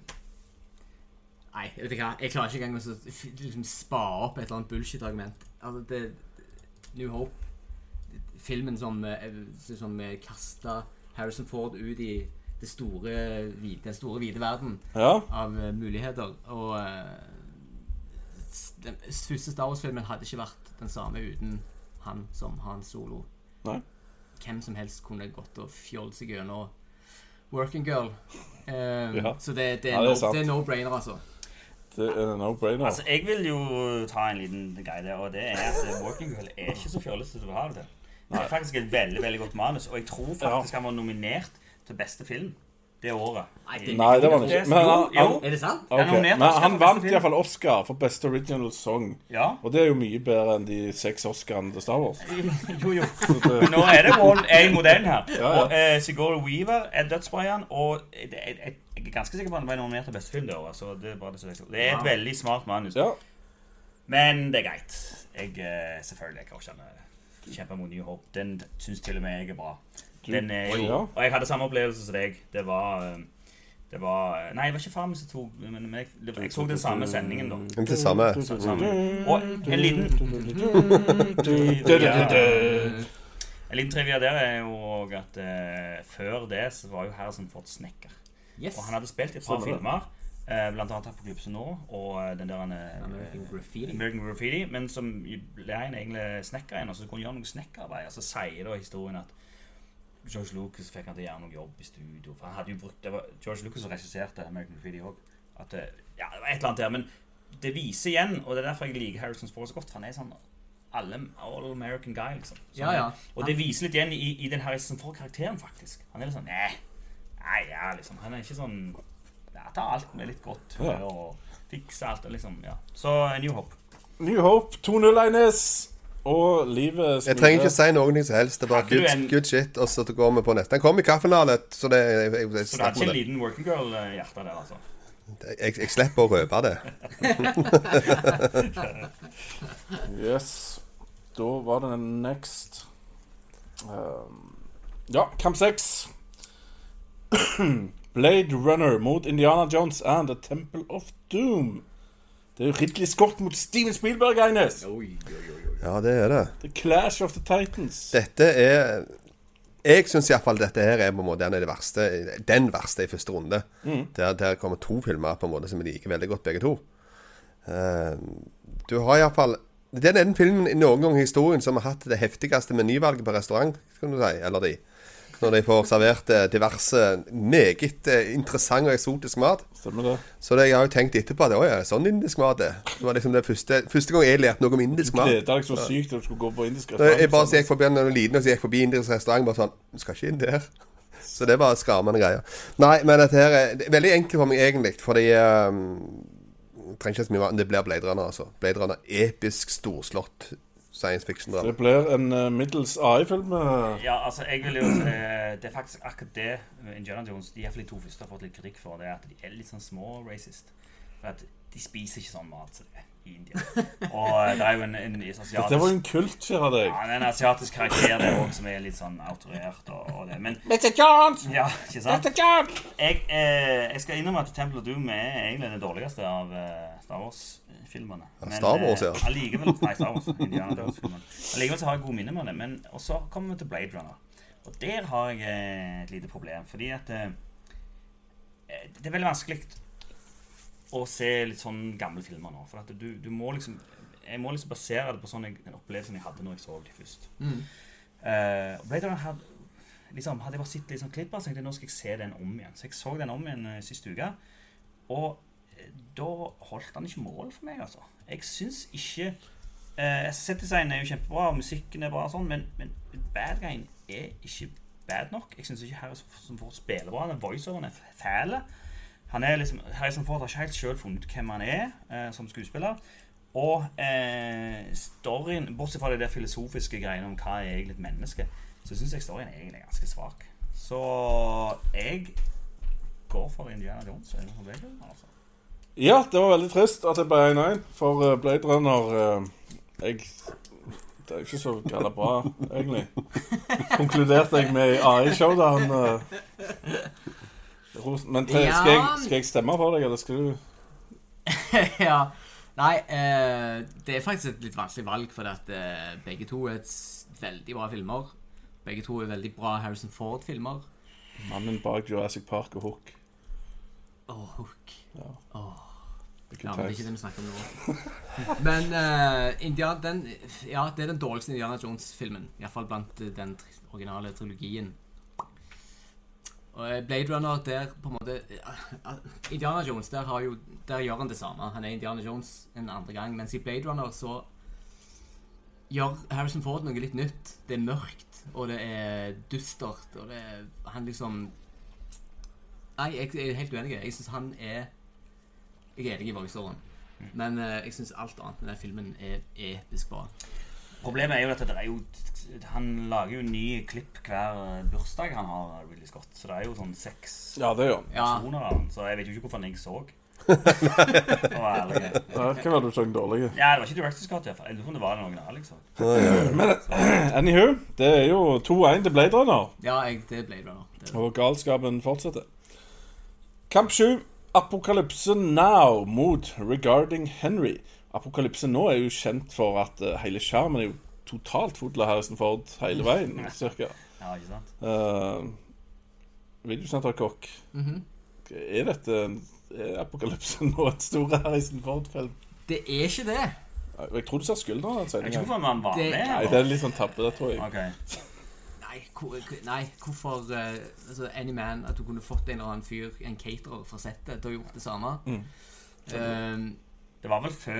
Speaker 7: nei, vet du hva. Jeg klarer ikke engang å så- liksom, spa opp et eller annet bullshit-argument. Altså, det New Hope Filmen som, eh, som kasta Harrison Ford ut i det store, hvite- den store, hvite verden
Speaker 6: Ja.
Speaker 7: av eh, muligheter. Og eh, s- den første Star Wars-filmen hadde ikke vært den samme uten han som Han Solo.
Speaker 6: Nei.
Speaker 7: Hvem som helst kunne gått og fjolt seg gjennom Working Girl. Eh,
Speaker 6: Ja.
Speaker 7: Så det, det
Speaker 6: Ja,
Speaker 7: er
Speaker 6: det er
Speaker 7: no-
Speaker 6: sant.
Speaker 7: det er no-brainer, altså.
Speaker 6: Det er en no-brainer.
Speaker 3: Altså, jeg vil jo ta en liten greie der, og det er at Working Girl er ikke så fjollete som du har det til. Det er faktisk et veldig veldig godt manus, og jeg tror faktisk han var nominert til beste film det året.
Speaker 7: Nei, det-
Speaker 6: Nei, det var han ikke. Men han,
Speaker 3: jo,
Speaker 6: han,
Speaker 7: Er det sant?
Speaker 6: ok,
Speaker 3: Han er nominert
Speaker 6: men
Speaker 3: til Oscar
Speaker 6: han
Speaker 3: for beste
Speaker 6: vant
Speaker 3: film.
Speaker 6: iallfall Oscar for Best Original Song.
Speaker 3: Ja.
Speaker 6: Og det er jo mye bedre enn de seks Oscarene til Star Wars.
Speaker 3: Jo, jo. Men nå er det one, en mot en her. Og eh, Sigourney Weaver er dødsbra i han, og jeg, jeg, jeg, jeg er ganske sikker på at han ble nominert til beste film det året. Så det er bare det som jeg tror. Det er et veldig smart manus.
Speaker 6: Ja,
Speaker 3: Men det er greit. Jeg eh, selvfølgelig jeg kan ikke han kjempe mot New Hope. Den syns til og med jeg er bra. Den er
Speaker 6: Oi,
Speaker 3: jo,
Speaker 6: ja.
Speaker 3: og jeg hadde samme opplevelse som deg. Det var eh, det var, eh, Nei, det var ikke far min som tok men men jeg, det, jeg så den samme sendingen, da.
Speaker 1: Men til samme.
Speaker 3: Sammen. Og en liten En liten trivia der er jo også at eh, før det så var jo Harrison Ford snekker.
Speaker 7: Yes.
Speaker 3: Og han hadde spilt i et par filmer, eh, blant annet her på Klubb nå, og eh, den der han eh,
Speaker 7: American Graffiti.
Speaker 3: American Graffiti, men som i- ble en egentlig snekker en, og så kunne han gjøre noe snekkerarbeid. Og så sier da historien at George Lucas fikk han til å gjøre noe jobb i studio. For han hadde jo brukt, det var George Lucas som regisserte American Graffiti òg. At eh, Ja, det var et eller annet der. Men det viser igjen, og det er derfor jeg liker Harrison Ford så godt. For han er sånn alle, all American guy, liksom. Så
Speaker 7: Ja, ja.
Speaker 3: Og det viser litt igjen i, i den Harrison Ford-karakteren, faktisk. Han er litt sånn Nei, nei, ja, liksom. Han er ikke sånn ja, Ta alt med litt godt
Speaker 6: Ja.
Speaker 3: og fikse alt. og Liksom, ja. Så en New Hope.
Speaker 6: New Hope 2-0 Eines. Og livet
Speaker 1: Jeg trenger ikke si noen ting som helst. Det er bare
Speaker 3: Hadde du
Speaker 1: good,
Speaker 3: en-
Speaker 1: good shit, og så går vi på neste. Den kom i kaffefinale, så det, jeg, jeg, jeg,
Speaker 3: Så du hadde
Speaker 1: snakker
Speaker 3: ikke
Speaker 1: om
Speaker 3: en
Speaker 1: det.
Speaker 3: liten working girl-hjerte der, altså?
Speaker 1: jeg, jeg slipper å røpe det.
Speaker 6: Yes. Da var det next um, Ja, kamp seks. Blade Runner mot Indiana Jones and The Temple of Doom. Det er jo Ridley Scott mot Steven Spielberg, Eines.
Speaker 1: Ja, det er det.
Speaker 6: The Clash of the Titans.
Speaker 1: Dette er Jeg syns iallfall dette her er på en måte den, er det verste, den verste i første runde. Der, der kommer to filmer på en måte som jeg liker veldig godt, begge to. Eh, du har iallfall Det er den filmen i noen gang i historien som har hatt det heftigste menyvalget på restaurant, kan du si. Eller de. Når de får servert eh, diverse meget eh, interessant og eksotisk mat.
Speaker 6: Stemmer det.
Speaker 1: Så det, jeg har jo tenkt etterpå at å ja, sånn indisk mat er. Det var liksom det første, første gang jeg lærte noe om indisk mat.
Speaker 6: Gleda deg så sykt da du skulle gå på indisk
Speaker 1: Da jeg bare
Speaker 6: restaurant.
Speaker 1: gikk forbi når jeg var liten, og så gikk jeg forbi indisk restaurant bare sånn Du skal ikke inn der. Så det var skremmende greier. Nei, men dette her er, det er veldig enkelt for meg egentlig, fordi um, trenger ikke så mye mer. Det blir Blade Runner, altså. Blade Runner, episk, storslått science
Speaker 6: Det
Speaker 1: fiction-drama.
Speaker 6: blir en uh, middels AI-film. eh.
Speaker 3: Ja, altså, jeg vil jo eh, Det er faktisk akkurat det med Indiana Jones De i hvert fall de to første har fått litt kritikk for, det er at de er litt sånn små racist. For at de spiser ikke sånn mat som det er i India. Og eh, det er jo en, en asiatisk
Speaker 6: Det var jo en kult, kjære deg.
Speaker 3: Ja, det er en asiatisk karakter det også, som er litt sånn autorert og, og det. Men
Speaker 4: Mr. Jones!
Speaker 3: ja, ikke sant?
Speaker 4: Jones!
Speaker 3: Jeg, eh, jeg skal innrømme at Temple of Doom er egentlig den dårligste av eh, Star Wars-filmene. Men,
Speaker 1: Star Wars, ja.
Speaker 3: eh, Allikevel, nei, Star Wars, Indiana Jones-filmen. Allikevel så har jeg gode minner med det. Men, og så kommer vi til Blade Runner. Og der har jeg eh, et lite problem, fordi at eh, eh, Det er veldig vanskelig å se litt sånn gamle filmer nå. For at du, du må liksom Jeg må liksom basere det på sånn jeg- en opplevelse jeg hadde når jeg så de først. Eh, og Blade Runner hadde, liksom, hadde jeg bare sett litt sånn klipp av, så tenkte jeg nå skal jeg se den om igjen. Så jeg så den om igjen eh, sist uke, og eh, da holdt han ikke mål for meg, altså. Jeg syns ikke uh, Set-design er jo kjempebra, og musikken er bra, og sånn, men, men bad guyen er ikke bad nok. Jeg syns ikke Harrison Ford spiller bra. Den voiceoveren er fæl. Han er liksom, Harrison Ford har ikke helt selv funnet ut hvem han er eh, som skuespiller. Og eh, storyen, bortsett fra de der filosofiske greiene om hva er egentlig et menneske, så syns jeg storyen er egentlig ganske svak. Så jeg går for Indiana Jones. og Ellen Rebecca, Altså.
Speaker 6: Ja, det var veldig trist at det ble 1-1 for eh, Blade Runner. eh, jeg Det er jo ikke så galla bra, egentlig. Konkluderte jeg med i AI-show da han eh, ros- Men te,
Speaker 7: Ja.
Speaker 6: skal, jeg, skal jeg stemme for deg, eller skal du
Speaker 7: ja. Nei, eh, det er faktisk et litt vanskelig valg, fordi at eh, begge to er et s- veldig bra filmer. Begge to er veldig bra Harrison Ford-filmer.
Speaker 6: Mannen bak Jurassic Park og Hook.
Speaker 7: Åh, Hook.
Speaker 6: Hvilken
Speaker 7: Ja, men det er
Speaker 6: tekst?
Speaker 7: ikke det vi snakker om nå. Men eh, India, den, ja, det er den dårligste Indiana Jones-filmen. Iallfall blant eh, den tri originale trilogien. Og eh, Blade Runner, der på en måte eh, Indiana Jones, der, har jo, der gjør han det samme. Han er Indiana Jones en andre gang. Mens i Blade Runner så gjør Harrison Ford noe litt nytt. Det er mørkt, og det er dystert, og det er Han liksom Nei, jeg, jeg er helt uenig. Jeg syns han er jeg er enig i voiceoveren. Men eh, jeg syns alt annet med den filmen er episk bra.
Speaker 3: Problemet er jo at det er jo, han lager jo nye klipp hver bursdag han har, Ridley Scott. Så det er jo sånn seks
Speaker 6: Ja, det gjør han.
Speaker 7: Ja,
Speaker 3: personer av han, så jeg vet jo ikke hvorfor han ikke så. For å være ærlig.
Speaker 6: Ja, Hva var det du så den dårlige?
Speaker 3: Ja, det var ikke Directors Cut, i hvert fall. Jeg lurer på om det var den originale. Liksom.
Speaker 6: Anywho, det er jo 2-1 til Blade Runner.
Speaker 7: ja jeg, det er Blade Runner. Det er.
Speaker 6: Og galskapen fortsetter. Kamp 7. Apokalypse Now mot Regarding Henry. Apokalypse nå er jo kjent for at eh, hele skjermen er jo totalt full av Harrison Ford hele veien, cirka.
Speaker 3: Ja, ikke sant?
Speaker 6: Uh, Videosenterkokk.
Speaker 3: Mhm.
Speaker 6: Er dette en- er Apokalypse nå et stort Harrison Ford-felt?
Speaker 7: det er ikke det.
Speaker 6: Jeg tror du ser skuldrene hans.
Speaker 3: Jeg vet ikke
Speaker 6: Nei,
Speaker 3: hvorfor han var
Speaker 7: Det-
Speaker 3: med.
Speaker 6: det er
Speaker 3: eller?
Speaker 6: litt sånn tabbe, det tror jeg.
Speaker 3: Ok.
Speaker 7: Nei, hvor, hvor- nei hvorfor eh, altså, Any Man At du kunne fått en eller annen fyr, en caterer fra settet, til å gjort det samme. Eh,
Speaker 3: Det var vel før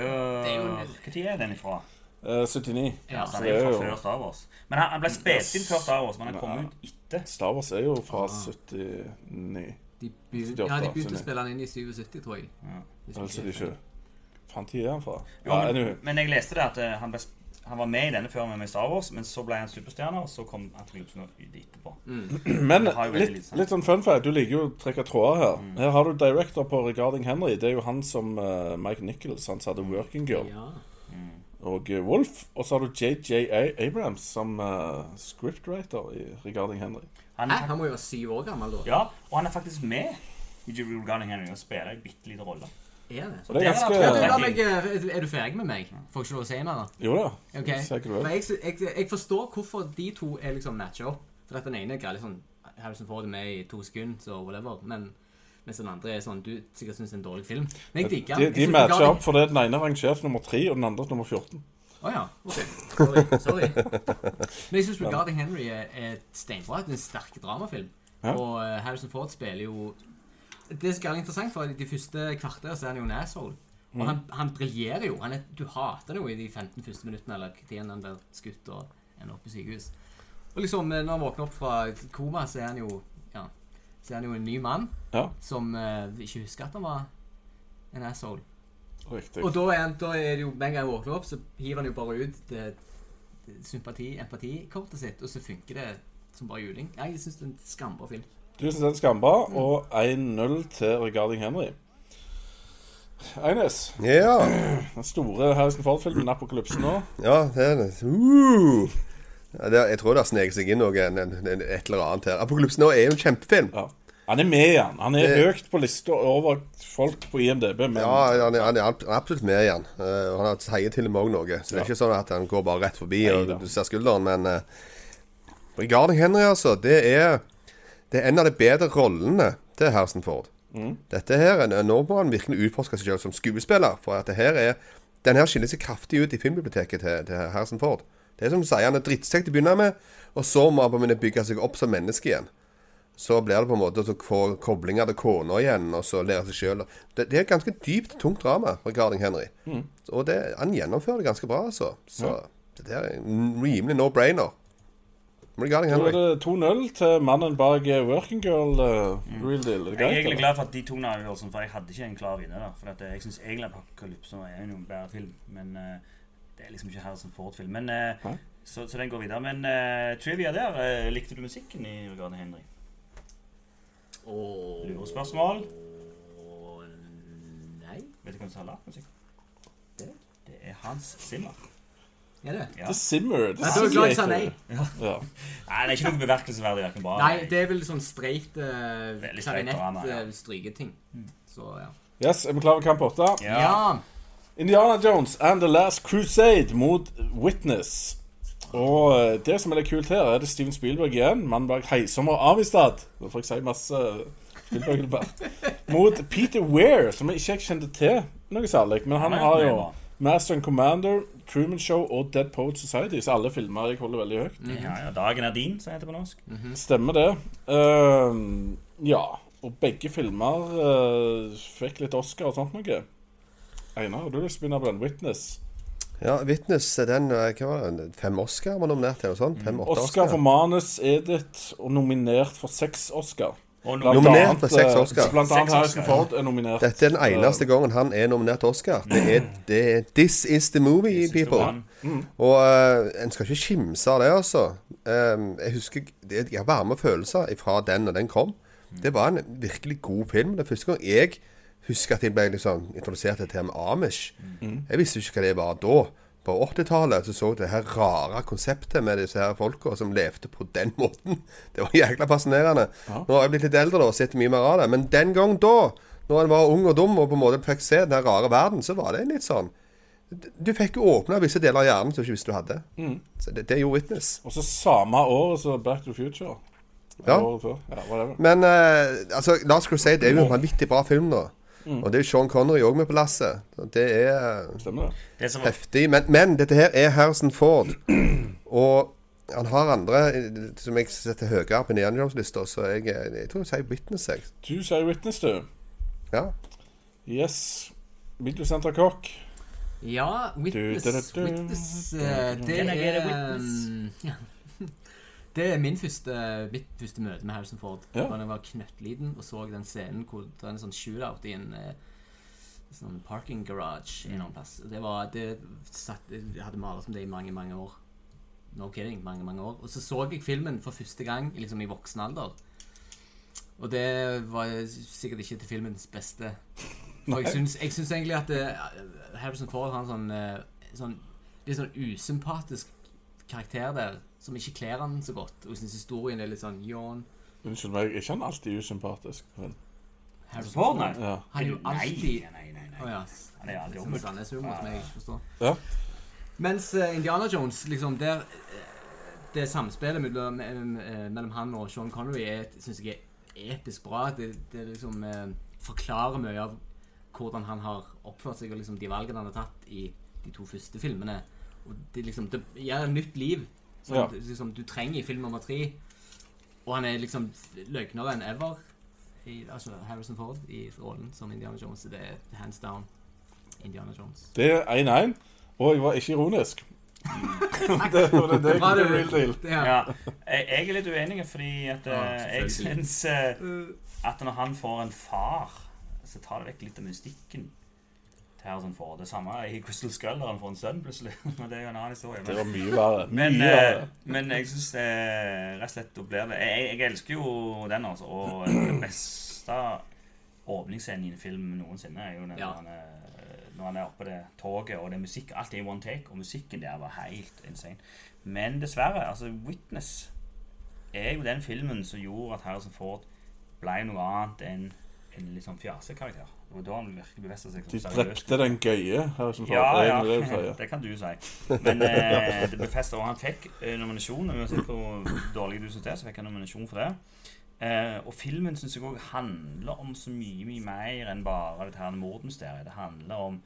Speaker 7: Det er jo
Speaker 3: Hva
Speaker 7: en-
Speaker 3: tid er den ifra?
Speaker 6: Eh, 79.
Speaker 7: ja,
Speaker 3: Så han
Speaker 6: det
Speaker 3: er jo
Speaker 6: er
Speaker 3: fra
Speaker 6: jo-
Speaker 3: før Star Wars. Men han, han ble spilt inn før Star Wars, men han kom
Speaker 6: Nei.
Speaker 3: ut etter. Ah.
Speaker 6: Star Wars er jo fra 79.
Speaker 7: de begynte,
Speaker 6: 78,
Speaker 7: ja, de begynte å
Speaker 6: absolutt.
Speaker 7: spille den inn i 77, tror jeg. Hvis jeg
Speaker 6: Altså,
Speaker 7: ikke
Speaker 6: de
Speaker 7: husker.
Speaker 6: ikke Faen, tid er han fra?
Speaker 3: Jo,
Speaker 6: Ja,
Speaker 3: men,
Speaker 6: anyway.
Speaker 3: men jeg leste det at eh, han, ble, sp- han var med i denne før han var med i Star Wars, men så ble han superstjerne, og så kom Apokalypse nå ut etterpå.
Speaker 6: Men
Speaker 3: Det har jo veldig
Speaker 6: litt,
Speaker 3: litt sans.
Speaker 6: litt sånn fun fact. Du liker jo å trekke tråder her.
Speaker 7: Mm.
Speaker 6: Her har du director på Regarding Henry. Det er jo han som eh, Mike Nichols, han som hadde Working Girl.
Speaker 7: Ja.
Speaker 6: og eh, Wolf. Og så har du JJA Abrams som eh, scriptwriter i Regarding Henry.
Speaker 3: Han
Speaker 7: Hæ?
Speaker 3: er, fak-
Speaker 7: Han må jo være syv år gammel, da.
Speaker 3: ja, og han er faktisk med i Jibble Garling Henry og spiller en bitte liten rolle.
Speaker 7: Er det?
Speaker 6: Og det er
Speaker 3: Det er det,
Speaker 7: Ja, du,
Speaker 6: ganske
Speaker 7: la meg, eh, er du ferdig med meg? Får ikke lov å si mer? da?
Speaker 6: Jo da.
Speaker 7: Ok,
Speaker 6: Se hva du
Speaker 7: Men
Speaker 6: vil.
Speaker 7: jeg, jeg, jeg forstår hvorfor de to er liksom matcha opp. For at den ene greier litt sånn Harrison Ford er med i to sekunder, så whatever. Men mens den andre er sånn Du sikkert syns det er en dårlig film. Men jeg
Speaker 6: De,
Speaker 7: digger den. Jeg
Speaker 6: de
Speaker 7: synes
Speaker 6: matcher
Speaker 7: Guardian-
Speaker 6: opp fordi den ene er rangert nummer tre, og den andre nummer 14.
Speaker 7: Å ja. Ok. Sorry. sorry. Men jeg syns Regarding Henry er, er et steinbra. Det er en sterk dramafilm.
Speaker 6: Ja.
Speaker 7: Og eh, Harrison Ford spiller jo Det som er litt interessant, for i de første kvarter så er han jo en asshole. Og han, han briljerer jo. Han er, du hater det jo i de 15 første minuttene, eller når han blir skutt og ender opp på sykehus. Og liksom, eh, når han våkner opp fra koma, så er han jo ja, så er han jo en ny mann
Speaker 6: Ja,
Speaker 7: som eh, ikke husker at han var en asshole.
Speaker 6: riktig.
Speaker 7: Og da er, han, da er det jo, med en gang han våkner opp, så hiver han jo bare ut det, det sympati, empatikortet sitt, og så funker det som bare juling. Nei, jeg syns det er en skambra film.
Speaker 6: Tusen takk, Skamba, og
Speaker 7: Mm.
Speaker 6: 1-0 til Regarding Henry. Eines,
Speaker 1: Ja.
Speaker 6: den store Harrison Ford-filmen 'Apokalypse' nå.
Speaker 1: Ja, det er det. Uh. Ja, det jeg tror det har sneket seg inn noe, en, en, en, et eller annet her. Apokalypse nå er jo en kjempefilm.
Speaker 6: Ja. Han er med igjen. Han er
Speaker 1: Det-
Speaker 6: høyt på lista over folk på IMDb, men
Speaker 1: Ja, han er, han er ab- absolutt med igjen. Eh, og han sier til og med også noe. Så det er ikke sånn at han går bare rett forbi og
Speaker 6: Neida.
Speaker 1: du ser skulderen, men eh, Regarding Henry, altså, det er Det er en av de bedre rollene til Harrison Ford. Dette her, er- Nå må han virkelig utforske seg selv som skuespiller. For at det her er, den her skiller seg kraftig ut i filmbiblioteket til, til Harrison Ford. Det er som du sier, Han er drittsekk til å begynne med, og så må han på en måte bygge seg opp som menneske igjen. Så blir det på en måte å få koblinger til kona igjen, og så lære seg sjøl det, det er et ganske dypt, tungt drama, regarding Henry.
Speaker 6: Mm.
Speaker 1: Og det, han gjennomfører det ganske bra, altså. Så det der er en rimelig no-brainer. Regarding
Speaker 6: Da er
Speaker 1: Henry.
Speaker 6: det 2-0 til mannen bak eh, Working Girl eh, Real Deal. Er
Speaker 3: Jeg er
Speaker 6: det greit?
Speaker 3: egentlig
Speaker 6: eller?
Speaker 3: glad for at de to navngjørelsene, for jeg hadde ikke en klar vinner. da For at eh, Jeg syns egentlig Apokalypse er jo en bedre film, men eh, det er liksom ikke Harrison Ford-film. Men eh,
Speaker 6: Hæ?
Speaker 3: så, så den går videre. Men eh, trivia der, eh, likte du musikken i Regarding Henry? Lurespørsmål?
Speaker 7: Og nei,
Speaker 3: Vet du hvem som har lagd musikken?
Speaker 7: Det?
Speaker 3: Det er Hans Zimmer.
Speaker 7: er det?
Speaker 3: Ja.
Speaker 6: The Simmer. The
Speaker 7: Nei, da er jeg glad jeg sa nei.
Speaker 6: Ja.
Speaker 3: Nei, det er ikke noe bemerkelsesverdig, hverken bra
Speaker 7: Nei, det er vel sånn streit uh,
Speaker 3: Veldig streit drama, ja.
Speaker 7: klarinett-stryketing. eh, Så ja.
Speaker 6: Yes, er vi klare for kamp åtte?
Speaker 3: Mm. ja.
Speaker 7: Ja!
Speaker 6: Indiana Jones and The Last Crusade mot Witness. Og eh, det som er litt kult her, er det Steven Spielberg igjen. Mannen bak 'Heisom og Amistad'. Nå får jeg si masse eh, Spielberg-debatt. Mot Peter Weir, som jeg ikke kjente til noe særlig. Men han
Speaker 3: Han er
Speaker 6: har
Speaker 3: med,
Speaker 6: jo
Speaker 3: da.
Speaker 6: Master and Commander, Truman Show og Dead Poet Society, så alle filmer jeg holder veldig høyt.
Speaker 3: ja, ja. Dagen er din, som heter det på norsk.
Speaker 7: Mm.
Speaker 6: Stemmer det. Ehm, ja. Og begge filmer eh, fikk litt Oscar og sånt noe. Einar, har du lyst til å begynne på den? 'Witness'?
Speaker 1: Ja, Witness den eh, Hva var det? Fem Oscar var nominert til? noe sånt? Fem-åtte
Speaker 6: Oscar
Speaker 1: Oscar?
Speaker 6: for manus, Edith, og nominert for seks Oscar.
Speaker 3: Og nå,
Speaker 6: Blant
Speaker 1: Nominert
Speaker 6: annet,
Speaker 1: for seks
Speaker 6: eh,
Speaker 1: Oscar.
Speaker 6: Blant annet
Speaker 3: Seks
Speaker 6: Harrison
Speaker 3: Oscar, ja.
Speaker 6: Ford er nominert.
Speaker 1: Dette er den eneste gangen han er nominert til Oscar. Det er, det er This is the movie,
Speaker 3: Mm. This is the
Speaker 1: people.
Speaker 3: one. Mm.
Speaker 1: Og eh, en skal ikke skimse av det, altså. Eh, jeg husker det, Jeg har varme følelser fra den når den kom.
Speaker 3: Mm.
Speaker 1: Det var en virkelig god film. Det er første gang jeg husker at jeg ble liksom introdusert til temaet Amish.
Speaker 3: Mm.
Speaker 1: Jeg visste jo ikke hva det var da. På 80-tallet så, så jeg det her rare konseptet med disse her folka som levde på den måten. Det var jækla fascinerende. Nå har jeg blitt litt eldre da, og sett mye mer av det. Men den gang da, når en var ung og dum og på en måte fikk se den her rare verden, så var det litt sånn du fikk jo åpna visse deler av hjernen som du ikke visste du hadde. Så det, det gjorde Witness.
Speaker 6: Og så samme år som Back to the Future.
Speaker 1: Ja.
Speaker 6: Året før. Ja, whatever.
Speaker 1: Men eh, altså, Last Crusade er jo en vanvittig bra film, da. Og det er jo Sean Connery òg med på lasset. Så Det er eh,
Speaker 6: Stemmer det.
Speaker 3: det som var
Speaker 1: heftig. Men, men dette her er Harrison Ford. Og han har andre eh, som jeg setter høyere på Indiana Jones-lista, så jeg, eh, jeg tror jeg sier Witness, jeg.
Speaker 6: Du sier Witness, du.
Speaker 1: Ja.
Speaker 6: Yes. Videosenter Kokk.
Speaker 7: Ja, Witness,
Speaker 6: Du, du, du, du.
Speaker 7: witness eh, Det
Speaker 3: Can I get a
Speaker 7: er
Speaker 3: witness?
Speaker 7: ja. Det er min første, mitt første møte med Harrison Ford.
Speaker 6: Ja.
Speaker 7: Da jeg var knøttliten og så den scenen hvor det er en sånn shootout i en eh, sånn parking garage en eller annen plass. Det var, det satt, jeg hadde malt om det i mange, mange år. No kidding, mange, mange år. Og så så jeg filmen for første gang liksom i voksen alder. Og det var sikkert ikke til filmens beste. For jeg syns, jeg syns egentlig at eh, Harrison Ford har en sånn, eh, sånn litt sånn usympatisk karakter der, som ikke kler han så godt, og synes historien er litt sånn yawn.
Speaker 6: Unnskyld meg, er ikke han alltid usympatisk? Men,
Speaker 7: Harry
Speaker 3: Porn,
Speaker 7: Potter.
Speaker 6: ja.
Speaker 7: Han er jo alltid
Speaker 3: Nei, nei, nei. nei.
Speaker 7: Å ja.
Speaker 3: Han er jo alltid
Speaker 7: Sånn
Speaker 3: omvendt.
Speaker 7: Sandnes-humor som jeg ikke forstår.
Speaker 6: Ja.
Speaker 7: Mens eh, Indiana Jones, liksom, der eh, Det samspillet mellom, eh, mellom han og Sean Connery er, et- synes jeg er episk bra. Det, det liksom eh, forklarer mye av hvordan han har oppført seg, og liksom de valgene han har tatt i de to første filmene. Og det liksom Det gir et nytt liv, som
Speaker 6: Ja.
Speaker 7: du- liksom, du trenger i film nummer tre. Og han er liksom løgnere enn ever. I, altså Harrison Ford i rollen som Indiana Jones. Det er hands down Indiana Jones.
Speaker 6: Det er 1-1, og jeg var ikke ironisk. det, var det, det er
Speaker 7: Bra,
Speaker 6: ikke
Speaker 7: du.
Speaker 6: the real deal.
Speaker 7: Det her.
Speaker 3: Ja, jeg jeg er litt uenig, fordi at eh, jeg
Speaker 7: selvfølgelig.
Speaker 3: syns
Speaker 7: Uh.
Speaker 3: at når han får en far, så tar det vekk litt av mystikken til Harrison Ford. Det samme i Crystal Skull, når han får en sønn plutselig. Men det er jo en annen historie.
Speaker 6: Det
Speaker 3: Men,
Speaker 6: var mye verre. Mye
Speaker 3: men, eh,
Speaker 6: verre.
Speaker 3: men jeg syns rett og slett å bli det jeg, jeg elsker jo den, altså. Og den beste åpningsscenen i en film noensinne er jo den
Speaker 7: Ja.
Speaker 3: når, han er, når han er oppe på det toget, og det er musikk. Alt er i one take, og musikken der var helt insane. Men dessverre, altså Witness er jo den filmen som gjorde at Harrison Ford ble noe annet enn en litt sånn fjasekarakter. Det var da han virkelig beviste seg. som
Speaker 6: De
Speaker 3: seriøs
Speaker 6: drepte den gøye her som
Speaker 3: ja,
Speaker 6: får
Speaker 3: ja.
Speaker 6: en det du sier.
Speaker 3: Det kan du si. Men eh, det befester også. Han fikk eh, nominasjon. og Uansett hvor dårlig du syns det, er, så fikk han nominasjon for det. Eh, og filmen synes jeg òg handler om så mye mye mer enn bare dette her mordmysteriet. Det handler om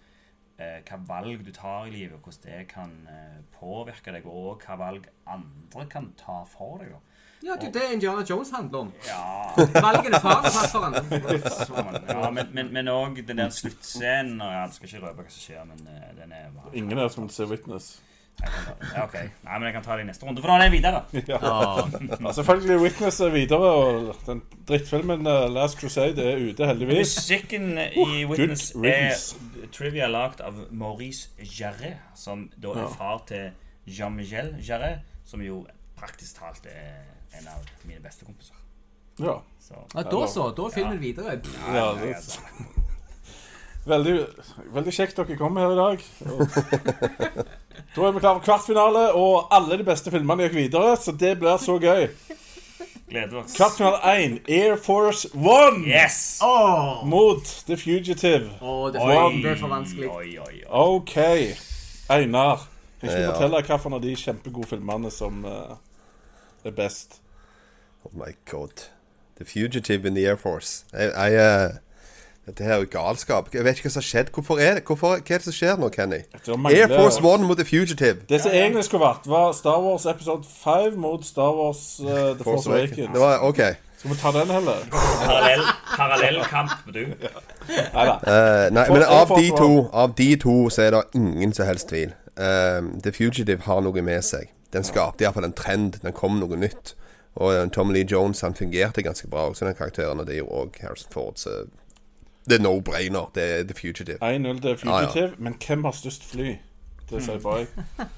Speaker 3: eh, hva valg du tar i livet, og hvordan det kan eh, påvirke deg, og hva valg andre kan ta for deg. da.
Speaker 7: Ja, det er jo det Indiana Jones handler om.
Speaker 3: Ja,
Speaker 7: Valgene faren har tatt for han.
Speaker 3: ja, Men- men- men òg den der sluttscenen. og Jeg skal ikke røpe hva som skjer, men eh, den er bare
Speaker 6: Ingen her som vil se Witness.
Speaker 3: Ja, ok. Nei, men jeg kan ta det i neste runde, for da er det videre.
Speaker 7: Ah.
Speaker 6: Ja, selvfølgelig Witness er videre, og den drittfilmen eh, Last Crusade er ute, heldigvis.
Speaker 3: Musikken i Witness
Speaker 6: good
Speaker 3: er
Speaker 6: riddance.
Speaker 3: trivia lagd av Maurice Jarret, som da er far til Jean-Michel Jarret, som jo praktisk talt er en av mine beste kompiser.
Speaker 6: Ja.
Speaker 3: Så
Speaker 7: Ja, da så. Da er filmen videre. Pff,
Speaker 6: ja det, veldig, veldig kjekt dere kom her i dag. Og, da er vi klare for kvartfinale, og alle de beste filmene gikk videre, så det blir så gøy.
Speaker 3: gleder oss.
Speaker 6: Kvartfinale 1, Air Force One
Speaker 3: Yes!
Speaker 6: mot The Fugitive.
Speaker 7: Å, det
Speaker 3: Oi,
Speaker 7: ble for vanskelig.
Speaker 3: Oi, oi, oi.
Speaker 6: OK, Einar. Kan ikke du
Speaker 1: Ja.
Speaker 6: fortelle hvilken av de kjempegode filmene som eh, er best?
Speaker 1: Oh my god. The Fugitive in the Air Force. Jeg, jeg, eh, dette her er jo galskap. Jeg vet ikke hva som har skjedd. Hvorfor er det? Hvorfor, hva er det som skjer nå, Kenny?
Speaker 6: Det mangler-
Speaker 1: Air Force One mot The Fugitive.
Speaker 6: Det som egentlig skulle vært, var Star Wars Episode 5 mot Star Wars eh, The Force Awakens.
Speaker 1: Det var, OK.
Speaker 6: Skal vi ta den heller?
Speaker 3: Parallell, parallell kamp, du.
Speaker 1: Eh, nei,
Speaker 6: Force-
Speaker 1: men av
Speaker 6: Force
Speaker 1: de
Speaker 6: One.
Speaker 1: to Av de to så er det ingen som helst tvil. Eh, The Fugitive har noe med seg. Den skapte iallfall en trend. Den kom noe nytt. Og eh, Tom Lee Jones han fungerte ganske bra også, den karakteren. Og det er jo også Harrison Ford, så det er no-brainer. Det er The Fugitive.
Speaker 6: 1-0 til Fugitive, men hvem har størst fly? Det sier bare jeg.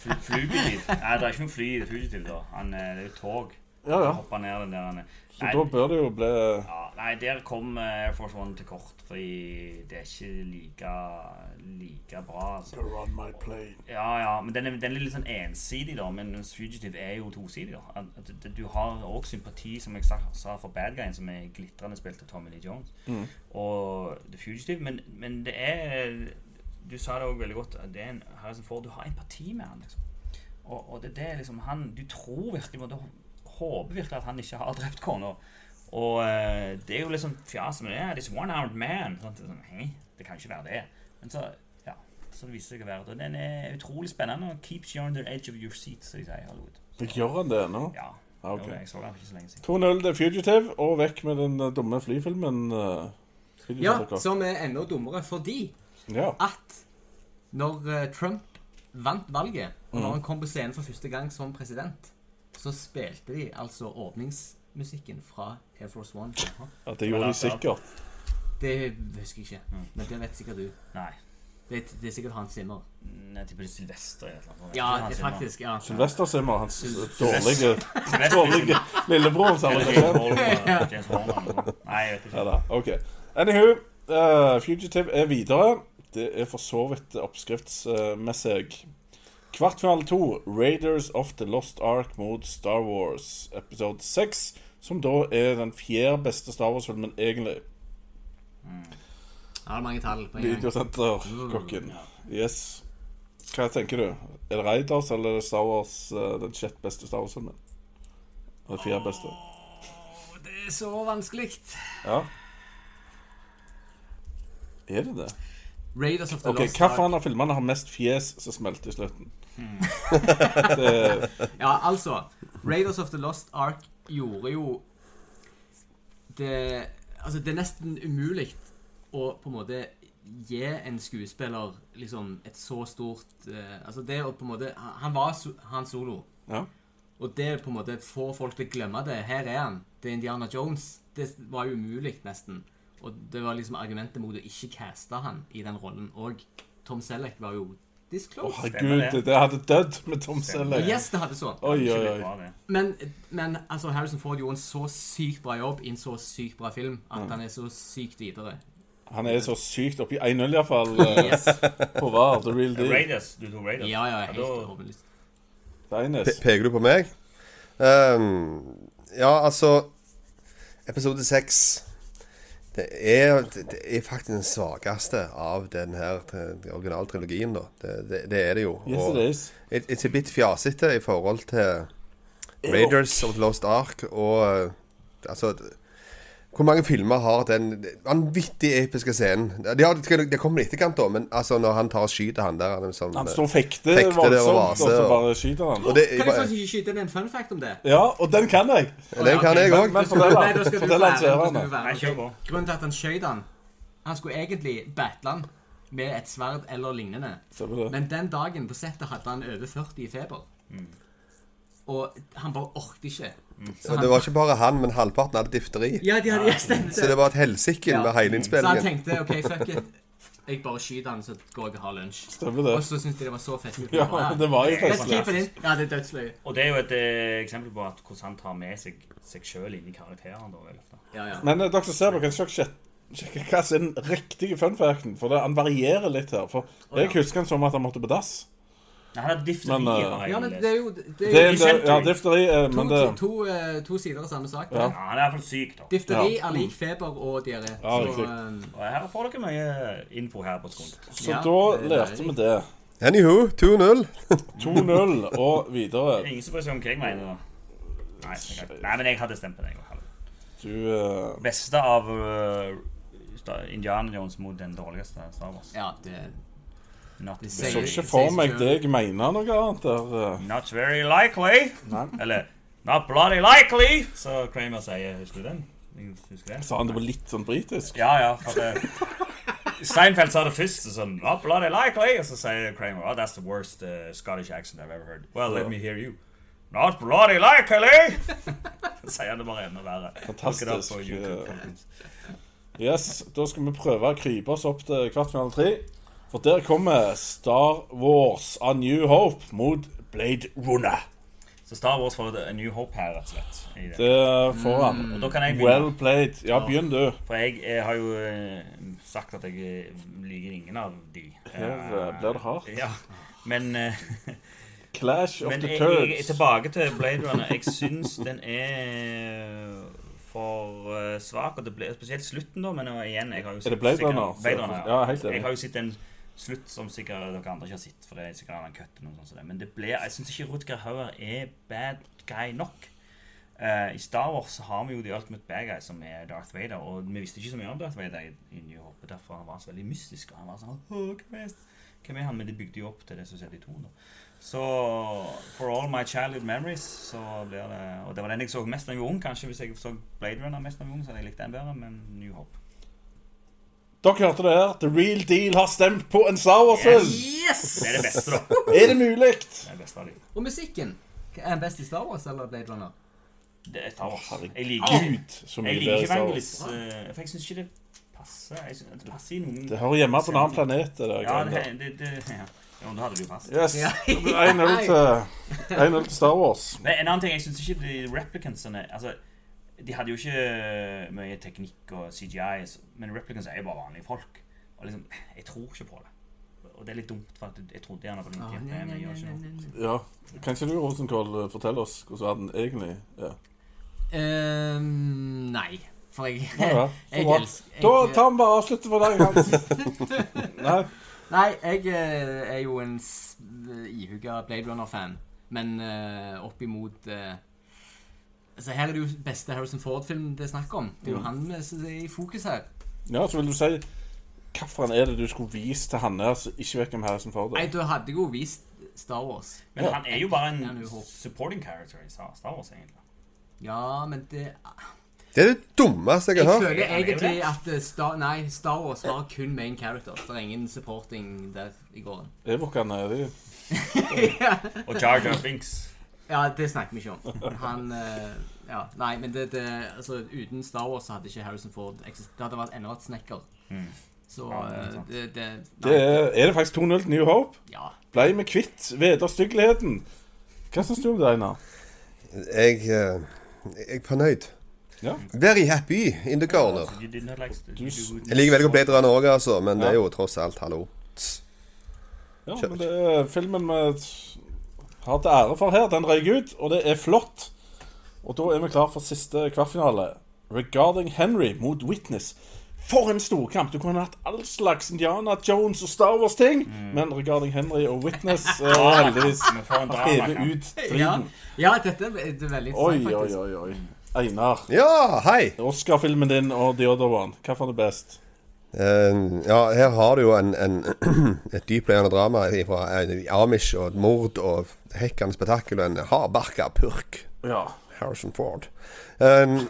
Speaker 3: Fly- Flygebil. Nei, det er ikke noe fly i det fugitive, da. Han, eh, det er jo tog.
Speaker 6: Ja, ja.
Speaker 3: Hopper ned den der han eh, er.
Speaker 6: Så da bør det jo bli
Speaker 3: Ja, nei, der kom eh, Air Force One til kort, fordi det er ikke like, like bra. Altså. Ja, ja, men den er, den er litt sånn ensidig, da, men Fugitive er jo tosidig. da. At- at Du, du har òg sympati, som jeg sa, sa for Bad Guyen, som er glitrende spilt av Tommy Lee Jones, og The Fugitive, men, men det er Du sa det òg veldig godt, at det er en Harrison Ford, du har empati med han, liksom. Og, og det, det er liksom han Du tror virkelig på det. Du håper virkelig at han ikke har drept kona. Og eh, det er jo liksom fjas med det. Yeah, this one armed man. Sånn, sånn, «Hæ? det kan ikke være det. Men så ja, så det viser seg å være det. Og Den er utrolig spennende. og Keeps you on the edge of your seat, som de sier i Hollywood.
Speaker 6: Gjør han det ennå?
Speaker 3: Ja.
Speaker 6: Ja, Ah, ok.
Speaker 3: det var det. Jeg så den for ikke så lenge siden.
Speaker 6: 2-0 til Fugitive, og vekk med den eh, dumme flyfilmen. eh, Fugitive,
Speaker 7: Ja,
Speaker 6: dere.
Speaker 7: som er enda dummere fordi
Speaker 6: ja.
Speaker 7: at når eh, Trump vant valget, og når han kom på scenen for første gang som president, så spilte de altså åpningsmusikken fra Air Force One.
Speaker 6: ja, det gjorde de sikkert.
Speaker 7: Det husker jeg ikke, men det vet sikkert du.
Speaker 3: Nei.
Speaker 7: Det, det er sikkert Hans Zimmer.
Speaker 3: Jeg tipper det er Sylvester eller noe.
Speaker 7: Ja, det er faktisk. ja.
Speaker 6: Sylvester Simmer, hans eh, dårlige,
Speaker 3: Sylvester.
Speaker 6: dårlige lillebror. som han
Speaker 3: Eller
Speaker 6: er
Speaker 3: James
Speaker 6: kjent.
Speaker 3: Horner. James Horner. eller noe. Nei, jeg vet
Speaker 6: Ja
Speaker 3: ikke.
Speaker 6: da, ok Anywho, eh, Fugitive er videre Det er for så vidt oppskriftsmessig Kvartfinale to, Raiders of the Lost Ark mot Star Wars episode 6. Som da er den fjerde beste Star Wars-filmen egentlig.
Speaker 7: Her er det mange tall på en gang.
Speaker 6: Videosenterkokken.
Speaker 7: Mm,
Speaker 6: Yes. Hva tenker du? Er det Raiders eller er det Star Wars, eh, den sjette beste Star Wars-filmen? Den fjerde beste?
Speaker 7: Ah. Det er så vanskelig.
Speaker 6: Ja. Er det det?
Speaker 7: Raiders of the
Speaker 6: Ok,
Speaker 7: Lost Ark.
Speaker 6: Hvilken av filmene har mest fjes som smelter i slutten?
Speaker 7: Ja, altså Raiders of the Lost Ark gjorde jo det Altså, det er nesten umulig å på en måte gi en skuespiller liksom et så stort eh, Altså, det å på en måte Han han var so, Han Solo.
Speaker 6: Ja.
Speaker 7: Og det på en måte får folk til å glemme det. Her er han. Det er Indiana Jones. Det var jo umulig, nesten. Og det var liksom argumentet mot å ikke caste han i den rollen. Og Tom Selleck var jo this close.
Speaker 6: Herregud, det, det hadde dødd med Tom
Speaker 3: Stemmer
Speaker 6: Selleck.
Speaker 7: yes, det hadde sånn. så.
Speaker 6: Oi, oi,
Speaker 3: Skikkelig
Speaker 6: oi.
Speaker 3: bra, det.
Speaker 7: Men, men altså, Harrison Ford gjorde en så sykt bra jobb i en så sykt bra film at
Speaker 1: Mm.
Speaker 7: han er så sykt videre.
Speaker 6: Han er så sykt oppi 1-0 iallfall. Uh,
Speaker 7: Yes.
Speaker 6: på hver, the real deal.
Speaker 3: Raiders. Du tok Raiders.
Speaker 7: Ja, ja, helt
Speaker 3: da-
Speaker 7: overbevist.
Speaker 6: Deines.
Speaker 1: Pe- Peker du på meg? Ehm, ja, altså Episode seks det er, det er faktisk den svakeste av den her t- originaltrilogien, da. Det, det, det er det jo.
Speaker 6: Yes,
Speaker 1: Og
Speaker 6: it is.
Speaker 1: it- it's a bit fjasete i forhold til Raiders of the Lost Ark og eh, Altså d- Hvor mange filmer har den vanvittig episke scenen? Det, har- det kommer i etterkant, da, men altså når han tar og skyter han der han er sånn,
Speaker 6: Han
Speaker 1: eh,
Speaker 6: står og fekter
Speaker 1: Fekter det og
Speaker 6: voldsomt, og
Speaker 1: vaser,
Speaker 6: så
Speaker 1: og-
Speaker 6: bare skyter
Speaker 1: og
Speaker 6: han.
Speaker 1: det,
Speaker 7: Kan jeg faktisk ikke skyte inn en fun fact om det?
Speaker 6: Ja, og den kan jeg.
Speaker 1: Den kan jeg òg.
Speaker 6: Men fortell
Speaker 7: Nei,
Speaker 6: han.
Speaker 7: da skal du få
Speaker 6: Fortell han
Speaker 7: æren, da skal
Speaker 6: seerne.
Speaker 7: du få æren.
Speaker 3: Nei, kjør på.
Speaker 7: Grunnen til at han skjøt han Han skulle egentlig battle han med et sverd eller lignende.
Speaker 6: Stemmer det.
Speaker 7: Men den dagen på settet hadde han over 40 i feber.
Speaker 3: Mm.
Speaker 7: Og han bare orket ikke. Så
Speaker 1: Og det var ikke bare han, men halvparten hadde difteri.
Speaker 7: Ja, de hadde ja, stemmer
Speaker 1: Så det var et helsike
Speaker 7: Ja.
Speaker 1: med hele
Speaker 7: Så han
Speaker 1: innspillingen.
Speaker 7: tenkte OK, fuck it. Jeg bare skyter han, så går jeg og har lunsj.
Speaker 6: Stemmer det.
Speaker 7: Og så syntes de det var så festlig.
Speaker 6: Ja, det var jo
Speaker 7: Let's keep it
Speaker 6: festlig.
Speaker 7: in. Ja, det er dødsløye.
Speaker 3: Og det er jo et eh, eksempel på at hvordan han tar med seg seg sjøl inn i karakteren. da, vel, ofte.
Speaker 7: Ja, ja.
Speaker 6: Men eh, dere som ser dere kan ikke sjekke hva som er den riktige fun facten, for det, han varierer litt her. For jeg husker han som at han måtte på dass.
Speaker 3: Nei, Han hadde difteri.
Speaker 6: Men, eh,
Speaker 3: har jeg
Speaker 7: ja, men
Speaker 3: lest.
Speaker 7: det er jo det
Speaker 6: Det
Speaker 7: er
Speaker 6: er
Speaker 7: jo
Speaker 6: en del, ja, difteri, eh,
Speaker 7: to,
Speaker 6: men det
Speaker 7: to, to, eh, to sider av samme sak.
Speaker 6: Ja.
Speaker 7: det.
Speaker 3: ja, han er iallfall syk, da.
Speaker 7: Difteri
Speaker 6: Ja.
Speaker 7: er lik feber og diaré.
Speaker 6: Ja,
Speaker 7: Så,
Speaker 6: riktig.
Speaker 7: eh,
Speaker 3: Og her får dere mye eh, info her på skolen.
Speaker 6: Så
Speaker 7: Ja,
Speaker 6: da
Speaker 7: det er
Speaker 6: lærte vi det.
Speaker 1: Anywho, 2-0.
Speaker 6: 2-0 og videre.
Speaker 3: Ingen som bryr seg om hva jeg mener. da. Nei, det er greit. Nei, men jeg hadde stemt på den. jeg også.
Speaker 6: Du eh,
Speaker 3: Beste av øh, Sta- Indiana Jones mot den dårligste Star Wars.
Speaker 7: ja, det
Speaker 3: Not,
Speaker 7: Det
Speaker 6: så
Speaker 7: sier-
Speaker 3: very,
Speaker 6: ikke for meg deg mener noe annet der. eh.
Speaker 3: not very likely. Eller Not bloody likely, så Kramer sier. Husker du den? Husker du det?
Speaker 6: Sa han det var litt sånn britisk?
Speaker 3: Ja, ja. For det, Steinfeld sa det først. og Sånn, Not bloody likely. Og så sier Kramer oh, That's the worst uh, Scottish accent I've ever heard. Well, let me hear you. Not bloody likely! Så sier han det bare enda verre. Look it up
Speaker 6: Fantastisk,
Speaker 3: på
Speaker 6: eh,
Speaker 3: YouTube, folkens.
Speaker 6: Yes, da skal vi prøve å krype oss opp til kvartfinale tre. For der kommer Star Wars A New Hope mot Blade Runner.
Speaker 3: Så Star Wars får A New Hope her, rett og slett. I det.
Speaker 6: Det får han.
Speaker 3: Og Mm. da kan jeg begynne.
Speaker 6: Well played. Ja, begynn du.
Speaker 3: For jeg, eh, har jo eh, sagt at jeg eh, liker ingen av de.
Speaker 6: Her eh, blir det hardt.
Speaker 3: Ja, men, eh,
Speaker 6: Clash of
Speaker 3: men
Speaker 6: the
Speaker 3: jeg, jeg,
Speaker 6: Turds.
Speaker 3: tilbake til Blade Runner. Jeg syns den er eh, for eh, svak. Og det ble, spesielt slutten, da. Men eh, igjen, jeg har jo
Speaker 6: Er det Blade
Speaker 3: sikkert-
Speaker 6: Runner?
Speaker 3: Blade Runner, ja.
Speaker 6: Ja, helt enig.
Speaker 3: Jeg har jo sett en slutt som sikkert dere andre ikke har sett. For det er sikkert en køtt eller noe sånt som det. Men det ble, jeg syns ikke Rutger Hauer er bad guy nok. Eh, I Star Wars så har vi jo The Ultimate Bad Guy, som er Darth Vader. Og vi visste ikke så mye om Darth Vader i, i New Hope, og derfor han var så veldig mystisk. Og han var sånn «Åh, hvem er, hvem er han? Men det bygde jo opp til det som skjedde i to. nå. Så For All My Childhood Memories så blir det Og det var den jeg så mest da jeg var ung. Kanskje hvis jeg så Blade Runner mest da jeg var ung, så hadde jeg likt den bedre, men New Hope.
Speaker 6: Dere hørte det her. The Real Deal har stemt på en Star Wars-film.
Speaker 3: Det er det beste, da. Det
Speaker 6: Er det mulig?
Speaker 3: er det beste av de.
Speaker 7: Og musikken. Er den best i Star Wars eller Blade Runner?
Speaker 3: Det er Star Wars. Jeg liker,
Speaker 6: Herregud, så mye
Speaker 3: jeg liker
Speaker 6: bedre
Speaker 3: ikke
Speaker 6: Star Wars.
Speaker 3: Vangelis, eh, for jeg syns ikke det passer. Jeg synes, det passer i noen
Speaker 6: Det hører hjemme på en annen planet. Det der,
Speaker 3: Ja,
Speaker 6: greiene
Speaker 3: det,
Speaker 6: der.
Speaker 3: det, det, ja. Jo, da hadde du fast.
Speaker 6: Yes. Det blir 1-0 til 1-0 til Star Wars.
Speaker 3: Men en annen ting, jeg synes ikke de replicantsene Altså, de hadde jo ikke eh, mye teknikk og CGI, så- men replicants er jo bare vanlige folk. Og liksom, jeg tror ikke på det. og det er litt dumt, for at jeg trodde gjerne på den
Speaker 7: Å,
Speaker 3: tiden,
Speaker 7: Ah, nei,
Speaker 3: men
Speaker 7: nei,
Speaker 3: jeg gjør
Speaker 7: nei,
Speaker 3: ikke
Speaker 7: nei,
Speaker 3: noe.
Speaker 7: nei, nei.
Speaker 6: Ja. Kan ikke du, Rosenkål, fortelle oss hvordan verden egentlig er?
Speaker 7: Eh, nei. For jeg
Speaker 6: Ja, ja. Så
Speaker 7: Jeg
Speaker 6: bra.
Speaker 7: elsker
Speaker 6: Da
Speaker 7: jeg-
Speaker 6: tar vi bare avslutter for deg, Hans. Nei.
Speaker 7: Nei, jeg eh, er jo en s- ihuga Blade Runner-fan, men eh, opp imot eh, Altså, her er det jo beste Harrison Ford-film det er snakk om. Det er jo han eh, som er i fokus her.
Speaker 6: Ja, så vil du si Hvilken er det du skulle vist til han her som ikke vet hvem Harrison Ford
Speaker 7: Nei,
Speaker 6: er?
Speaker 7: du hadde jo vist Star Wars.
Speaker 3: Men han er jo bare
Speaker 7: Han er
Speaker 3: en
Speaker 7: jo håp.
Speaker 3: supporting character i Star Star Wars, egentlig.
Speaker 7: Ja, men det
Speaker 1: Det er det dummeste jeg
Speaker 7: Jeg
Speaker 1: har hørt.
Speaker 7: føler
Speaker 3: han er jo
Speaker 7: egentlig
Speaker 3: det.
Speaker 7: at eh, Star, nei, Star Wars var kun main character. Det er ingen supporting der i gården.
Speaker 6: Evokene er de.
Speaker 3: Og Jar Jar Binks.
Speaker 7: Ja, det snakker vi ikke om. Han eh, Ja, nei, men det, det Altså, uten Star Wars så hadde ikke Harrison Ford eksistert. Det hadde vært enda et snekker. Så
Speaker 3: Mm. Ja, det er
Speaker 7: eh,
Speaker 3: sant.
Speaker 7: det, det,
Speaker 6: Det
Speaker 7: nei,
Speaker 6: er, er det faktisk 2-0 til New Hope?
Speaker 7: Ja.
Speaker 6: Blei vi kvitt vederstyggeligheten? Hva syns du om det, Einar?
Speaker 1: Jeg, eh, jeg er fornøyd.
Speaker 6: Ja.
Speaker 1: Very happy in the corner.
Speaker 3: You Altså, did not like to do it.
Speaker 1: Jeg liker veldig godt Blade Runner òg, altså, men det er jo tross alt hallo.
Speaker 6: Ja, men det er filmen vi har til ære for her, den røyk ut, og det er flott. Og da er vi klar for siste kvartfinale. Regarding Henry mot Witness. For en storkamp! Du kunne hatt all slags Indiana Jones og Star Wars-ting, men Regarding Henry og Witness eh, har heldigvis
Speaker 3: Men for en drama,
Speaker 6: hevet
Speaker 3: kan.
Speaker 6: ut
Speaker 7: Ja,
Speaker 6: striden.
Speaker 7: ja, dette er det er veldig
Speaker 6: Oi,
Speaker 7: interessant,
Speaker 6: oi,
Speaker 7: faktisk.
Speaker 6: oi, oi. Einar,
Speaker 1: Ja, hei!
Speaker 6: Oscar-filmen din og The Other One, hva fant du best?
Speaker 1: Eh, ja, her har du jo en, en, et dyptlegende drama fra en Amish og et mord og hekkende spetakkel og en hardbarka purk.
Speaker 6: Ja.
Speaker 1: Harrison Ford. Eh,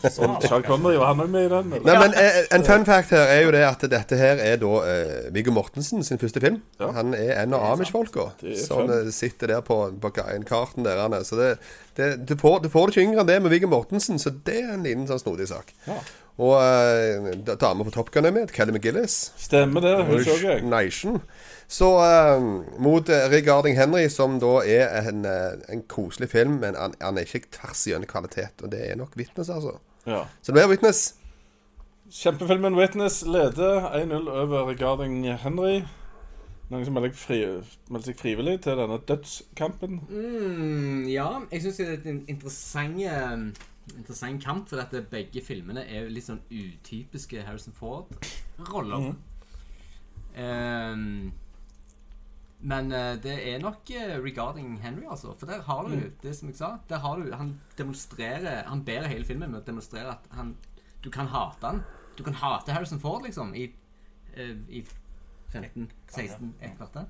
Speaker 6: Charles Connery, var han òg med i den? eller?
Speaker 1: Nei, men eh, En fun fact her er jo det at dette her er da eh, Viggo Mortensen sin første film.
Speaker 6: Ja.
Speaker 1: Han er en av Amish-folka
Speaker 6: Det er
Speaker 1: som
Speaker 6: fun.
Speaker 1: eh, sitter der på, på karten deres. Så det, det, du, får, du får det ikke yngre enn det med Viggo Mortensen, så det er en liten sånn snodig sak.
Speaker 6: Ja.
Speaker 1: Og eh, da- dama på Top Gun er med, Kelly McGillis.
Speaker 6: Stemmer det, hun så jeg.
Speaker 1: Nation. Så eh, mot eh, Regarding Henry, som da er en, eh, en koselig film, men han, han er ikke tvers igjennom kvalitet. Og det er nok Witness, altså.
Speaker 6: Ja.
Speaker 1: Så det blir Witness.
Speaker 6: Kjempefilmen Witness leder 1-0 over Regarding Henry. Noen som melder fri, melder seg frivillig til denne dødskampen.
Speaker 7: Mm, ja, jeg syns det er en interessant, eh, interessant kamp, for at det- begge filmene er jo litt sånn utypiske Harrison Ford-roller.
Speaker 3: Mm.
Speaker 7: Ehm, men eh, det er nok eh, regarding Henry, altså. For der har du det som jeg sa. Der har du, Han demonstrerer Han bærer hele filmen med å demonstrere at han du kan hate han. Du kan hate Harrison Ford, liksom, i, eh, i 15-16 et kvarter.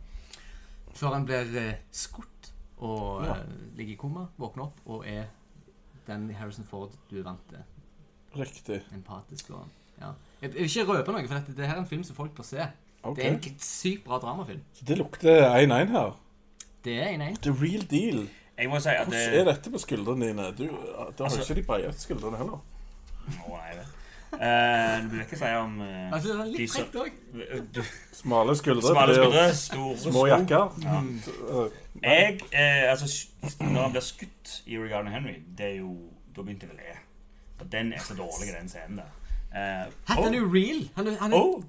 Speaker 7: Før han blir eh, skutt og eh, ligger i koma, våkner opp og er den Harrison Ford du er vant til.
Speaker 6: Riktig.
Speaker 7: Empatisk og ja. Jeg vil ikke røpe noe, for dette, det her er en film som folk bør se.
Speaker 6: Ok.
Speaker 7: Det er en k- sykt bra dramafilm.
Speaker 6: Så det lukter 1-1 her.
Speaker 7: Det er en en.
Speaker 6: The real deal.
Speaker 3: Jeg må si at
Speaker 6: Hvordan
Speaker 3: det Altså-
Speaker 6: er dette på skuldrene dine? Du, eh, da har ikke de breieste skuldrene heller.
Speaker 3: Å, nei, jeg vet. Eh, Du vil ikke si om eh,
Speaker 7: Altså, det er
Speaker 3: de
Speaker 7: litt
Speaker 3: som-
Speaker 7: frekt òg.
Speaker 3: du-
Speaker 6: Smale skuldre.
Speaker 3: Smale
Speaker 6: blir
Speaker 3: skuldre, store
Speaker 6: Små
Speaker 3: sko.
Speaker 6: jakker. Mm.
Speaker 3: Jeg, eh, altså sk- Når han blir skutt i Regarding Henry, det er jo Da begynte jeg å le. For den er så dårlig, den scenen der. Eh,
Speaker 7: Hatt, han er jo real. Han er, han er,
Speaker 3: oh,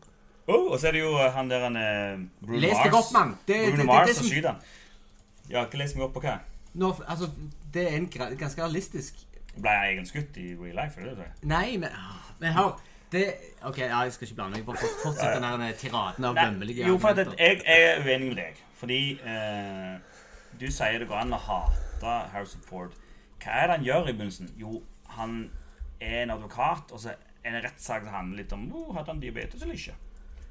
Speaker 3: oh, og så er det jo eh, han der han eh, Bruno
Speaker 7: Les deg
Speaker 3: Mars.
Speaker 7: opp, mann. Det- det-
Speaker 3: Bruno
Speaker 7: det-
Speaker 3: Mars
Speaker 7: det
Speaker 3: som
Speaker 7: som-
Speaker 3: skyter han. Ja, ikke les meg opp på hva?
Speaker 7: nå, altså, det er en gra- ganske realistisk
Speaker 3: Ble jeg egentlig skutt i real life? Er det det? du sier?
Speaker 7: Nei, men, ah, men hør det, Ok, ja, jeg skal ikke blande meg. Bare fort- fortsett den der eh, tiraden av
Speaker 3: Nei,
Speaker 7: bømmelige
Speaker 3: jo, for at
Speaker 7: argumenter.
Speaker 3: jeg er uenig med deg. Fordi eh, du sier det går an å hate Harrison Ford. Hva er det han gjør i begynnelsen? Jo, han er en advokat, og så er det en rettssak som handler litt om oh, Hadde han diabetes eller ikke?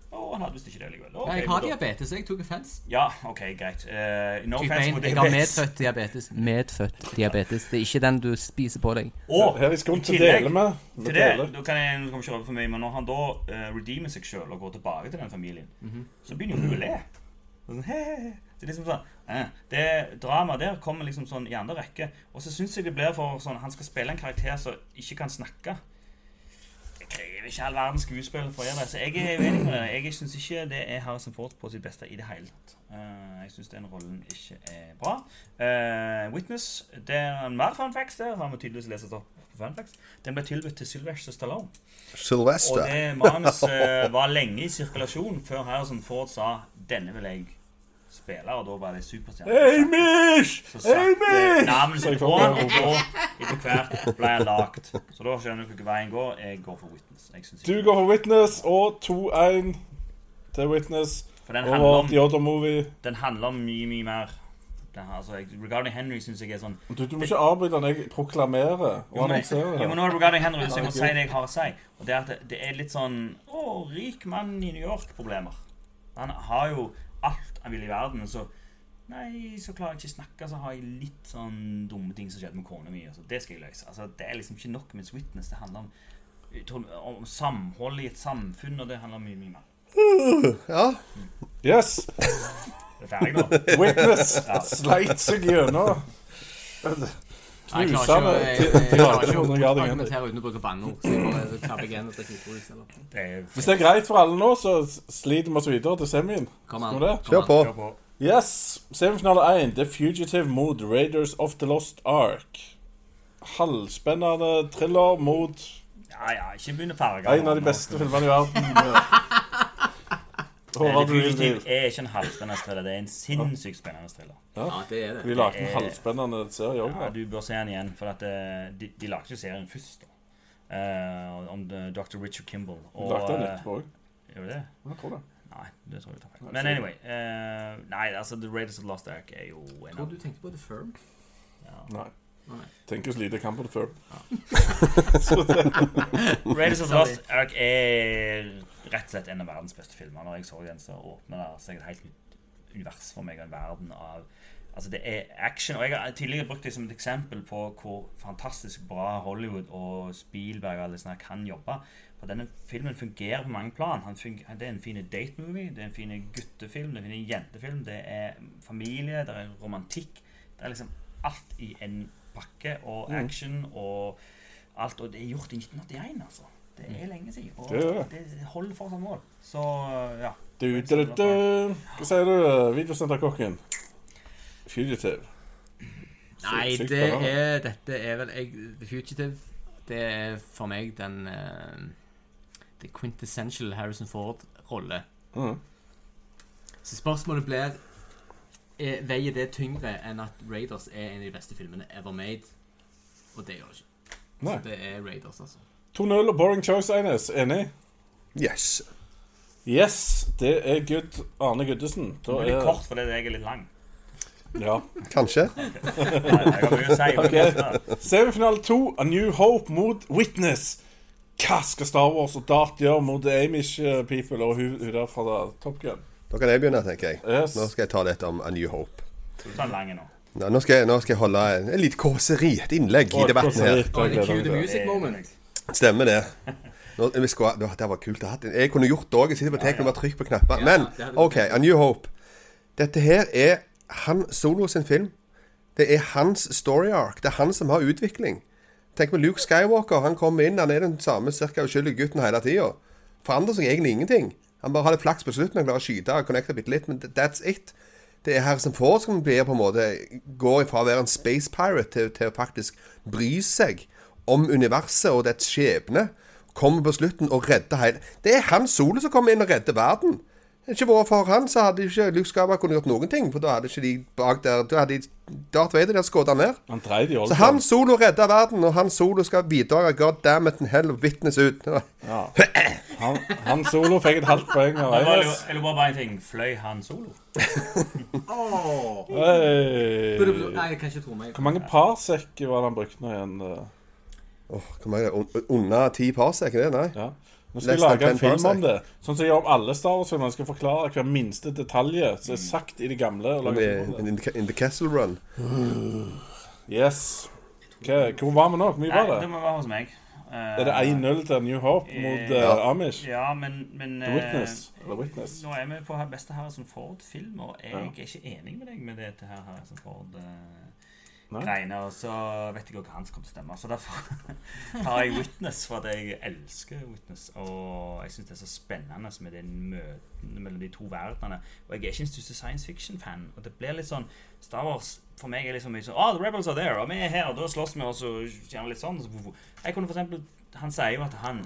Speaker 3: Å, han hadde visst ikke det likevel. Ok,
Speaker 7: Nei, jeg har
Speaker 3: men da-
Speaker 7: diabetes, jeg tok offens.
Speaker 3: Ja, OK, greit. Eh, no
Speaker 7: Type
Speaker 3: offense
Speaker 7: 1.
Speaker 3: mot
Speaker 7: Jeg har
Speaker 3: diabetes.
Speaker 7: medfødt diabetes. Medfødt diabetes. Det er ikke den du spiser på deg.
Speaker 3: Og
Speaker 6: Her i skolen så
Speaker 3: tillegg
Speaker 6: deler vi. Vi
Speaker 3: til det,
Speaker 6: deler.
Speaker 3: da kan jeg, nå kan vi ikke røpe for mye, men når han da eh, redeemer seg sjøl og går tilbake til den familien, så begynner jo hun å le. Sånn, he, he, he. Så liksom sånn, eh, det dramaet der kommer liksom sånn i andre rekke. Og så syns jeg det blir for sånn Han skal spille en karakter som ikke kan snakke. Det krever jo ikke all verdens skuespill for å gjøre det. Så jeg er uenig med det. Jeg syns ikke det er Harrison Ford på sitt beste i det hele tatt. Eh, jeg syns den rollen ikke er bra. Eh, Witness Det er en mer fun facts der. Har vi tydeligvis lest opp på fun facts. Den ble tilbudt til Sylvester Stallone. Og
Speaker 1: Sylvester.
Speaker 3: det manuset eh, var lenge i sirkulasjon før Harrison Ford sa 'denne vil jeg spille', og da var det superstjerne.
Speaker 6: Amish!
Speaker 3: Så satte navnet sitt på han, og da etter hvert ble han lagt. Så da skjønner du hvilken vei en går. Jeg går for Witness. Jeg synes
Speaker 6: Du
Speaker 3: ikke-
Speaker 6: går for Witness og 2-1 til Witness.
Speaker 3: For den handler
Speaker 6: Over
Speaker 3: om,
Speaker 6: The Other Movie.
Speaker 3: den handler om mye, mye mer. Den her, altså, jeg, Regarding Henry synes jeg er sånn
Speaker 6: Du, du må ikke avbryte når jeg proklamerer og
Speaker 3: Jo, men,
Speaker 6: annonserer.
Speaker 3: jo, men nå er det Regarding Henry, så jeg må si det jeg har å si. Og det er at det, det er litt sånn Å, rik mann i New York-problemer. Han har jo alt han vil i verden, men så Nei, så klarer jeg ikke å snakke, så har jeg litt sånn dumme ting som skjedde med kona mi. Altså, det skal jeg løse. Altså, det er liksom ikke nok med et witness. Det handler om, om samhold i et samfunn, og det handler om mye, mye mer.
Speaker 1: Ja.
Speaker 6: Yes!
Speaker 3: Er det ferdig nå?
Speaker 6: Witness sleit seg gjennom.
Speaker 7: Nei, Jeg klarer ikke å- jeg- jeg- jeg
Speaker 6: Knusende
Speaker 7: klarer ikke å
Speaker 6: gardiner.
Speaker 7: argumentere uten å bruke banneord. Så jeg bare klapper igjen og drikker brus, eller
Speaker 3: Det er
Speaker 6: Hvis det er greit for alle nå, så sliter vi oss videre til semien.
Speaker 7: Kom an.
Speaker 6: Skal vi det?
Speaker 7: kom
Speaker 1: Kjør
Speaker 7: an.
Speaker 1: på.
Speaker 3: Hør på.
Speaker 6: Yes! Semifinale 1. The Fugitive mot Raiders of the Lost Ark. Halvspennende thriller mot
Speaker 3: Ja, ja, ikke begynn å farge.
Speaker 6: en av de beste filmene i verden. Håvard, du vil
Speaker 3: Det
Speaker 6: til.
Speaker 3: er ikke en halvspennende thriller, det er en sinnssykt spennende thriller.
Speaker 7: Ja, det er
Speaker 6: Vi
Speaker 7: det.
Speaker 6: lagde en halvspennende serie òg.
Speaker 3: Ja, du bør se den igjen, for at eh, de, de lagde jo serien først. da. Eh, om eh, Dr. Richard Kimball.
Speaker 6: Vi lagde den
Speaker 3: eh,
Speaker 6: etterpå òg.
Speaker 3: Gjør vi det?
Speaker 6: Jeg tror det.
Speaker 3: Nei, det tror jeg tar feil. Men anyway eh, Nei, altså, The Raiders of the Lost Ark er jo en
Speaker 7: Tror
Speaker 3: av
Speaker 7: du tenkte på The Firm?
Speaker 6: Nei.
Speaker 7: Nei.
Speaker 6: Tenker oss lite kamp på det før.
Speaker 3: Raiders of the Lost Ark er rett og slett en av verdens beste filmer. Når jeg så den, så åpna det seg et helt nytt univers for meg, og en verden av Altså, det er action. Og jeg har tidligere brukt det som et eksempel på hvor fantastisk bra Hollywood og Spielberg og alle sånne her kan jobbe. For denne filmen fungerer på mange plan. Han fung- det er en fin date-movie, det er en fin guttefilm, det er en fin jentefilm, det er familie, det er romantikk. Det er liksom alt i en pakke,
Speaker 6: Mm.
Speaker 3: og action og alt, og det er gjort i 1981, altså. Det er lenge siden, og
Speaker 6: Mm. Det er
Speaker 3: det, holder for som mål. Så, ja.
Speaker 6: Du, du, du, du. Hva sier du, eh, videosenterkokken? Fugitive.
Speaker 7: Nei,
Speaker 6: Sykt
Speaker 7: det
Speaker 6: bra.
Speaker 7: er, dette er vel jeg, The Fugitive. Det er for meg den eh, The quintessential Harrison Ford-rolle.
Speaker 6: Mhm.
Speaker 7: Så spørsmålet blir er, Veier det tyngre enn at Raiders er en av de beste filmene ever made? Og det gjør det ikke.
Speaker 6: Nei.
Speaker 7: Så det er Raiders, altså.
Speaker 6: 2-0 og boring choice, Eines. Enig?
Speaker 1: Yes.
Speaker 6: Yes, det er good. Arne Guddesen.
Speaker 3: Det
Speaker 6: Da
Speaker 3: er
Speaker 6: er
Speaker 3: litt kort fordi jeg er litt lang.
Speaker 6: Ja.
Speaker 1: Kanskje.
Speaker 3: Nei, Jeg har mye å si. men jeg vet det.
Speaker 6: Semifinale 2, A New Hope mot Witness. Hva skal Star Wars og Dart gjøre mot The Amish eh, people og hun, hun der fra da- Top Gun?
Speaker 1: Da kan jeg begynne, tenker jeg.
Speaker 6: Yes.
Speaker 1: Nå skal jeg ta litt om A New Hope.
Speaker 3: Du tar en lang nå.
Speaker 1: Nå nå skal jeg, nå skal jeg holde en, en liten kåseri, et innlegg, i debatten her.
Speaker 6: Kåseri. Da
Speaker 7: Og det
Speaker 6: gleder jeg
Speaker 7: cue the
Speaker 6: meg.
Speaker 3: Eh,
Speaker 7: music moment.
Speaker 1: Stemmer det. Nå, vi skulle, det, var- det var kult å ha. Jeg kunne gjort det òg. Jeg sitter på teknikken og bare trykker på knapper.
Speaker 7: Ja,
Speaker 1: Men
Speaker 7: det hadde vært
Speaker 1: OK, A New Hope. Dette her er han Solo sin film. Det er hans story arc. Det er han som har utvikling. Tenk med Luke Skywalker. Han kommer inn, han er den samme cirka uskyldige gutten hele tida. Forandrer seg egentlig ingenting. Han bare har litt flaks på slutten, han klarer å skyte og connecte bitte litt, men that's it. Det er Harrison Ford som blir på en måte går ifra å være en space pirate til, til å faktisk bry seg om universet og dets skjebne. Kommer på slutten og redder hele Det er han Solo som kommer inn og redder verden. Hadde det ikke vært for han, så hadde ikke Luke Skywalker kunnet gjort noen ting. For da hadde ikke de bak der Da hadde de- Darth Vader der skutt han ned.
Speaker 6: Han dreide i
Speaker 1: Så
Speaker 6: Oldboy.
Speaker 1: han Solo redda verden, og han Solo skal bidra god damn it and hell og vitnes ut.
Speaker 6: Han, han solo fikk et halvt poeng av
Speaker 3: Jeg lurer
Speaker 6: Eines.
Speaker 3: jeg lurer bare på en ting. Fløy han solo?
Speaker 6: Hey.
Speaker 7: Nei, jeg kan ikke tro meg.
Speaker 6: Hvor mange parsekker var det han brukte nå igjen? eh?
Speaker 1: Åh, hvor mange er det? Un- Under ti pars, er ikke det? Nei?
Speaker 6: Ja. Nå skal jeg
Speaker 1: Less than
Speaker 6: lage en
Speaker 1: 10
Speaker 6: film om
Speaker 1: parsec.
Speaker 6: det. Sånn som jeg gjør om alle Star Wars-filmer. Jeg skal forklare hver minste detalj som er sagt i det gamle. Og lage en film om det.
Speaker 1: In the, in the Castle Run.
Speaker 6: Yes. Ok, Hvor var vi nå? Hvor mye
Speaker 3: Nei,
Speaker 6: var
Speaker 3: det
Speaker 6: det?
Speaker 3: må være hos meg. Eh,
Speaker 6: Er det 1-0 til New Hope mot eh,
Speaker 1: Ja.
Speaker 6: Amish?
Speaker 3: Ja, men, men
Speaker 6: The
Speaker 3: eh,
Speaker 6: Witness. Eller Witness.
Speaker 3: Nå er vi på her beste Harrison Ford-film, og jeg er ikke enig med deg med det til her Harrison Ford. eh,
Speaker 6: Nei.
Speaker 3: greiene, og så vet jeg jo hva hans kommer til å stemme. Så derfor har jeg Witness, for at jeg elsker Witness. Og jeg syns det er så spennende med det møtene mellom de to verdenene. Og jeg er ikke den største science fiction-fan, og det blir litt sånn Star Wars for meg er liksom mye sånn Ah, the rebels are there, og vi er her, og da slåss vi, og så gjør vi litt sånn. og så- Jeg kunne for eksempel Han sier jo at han,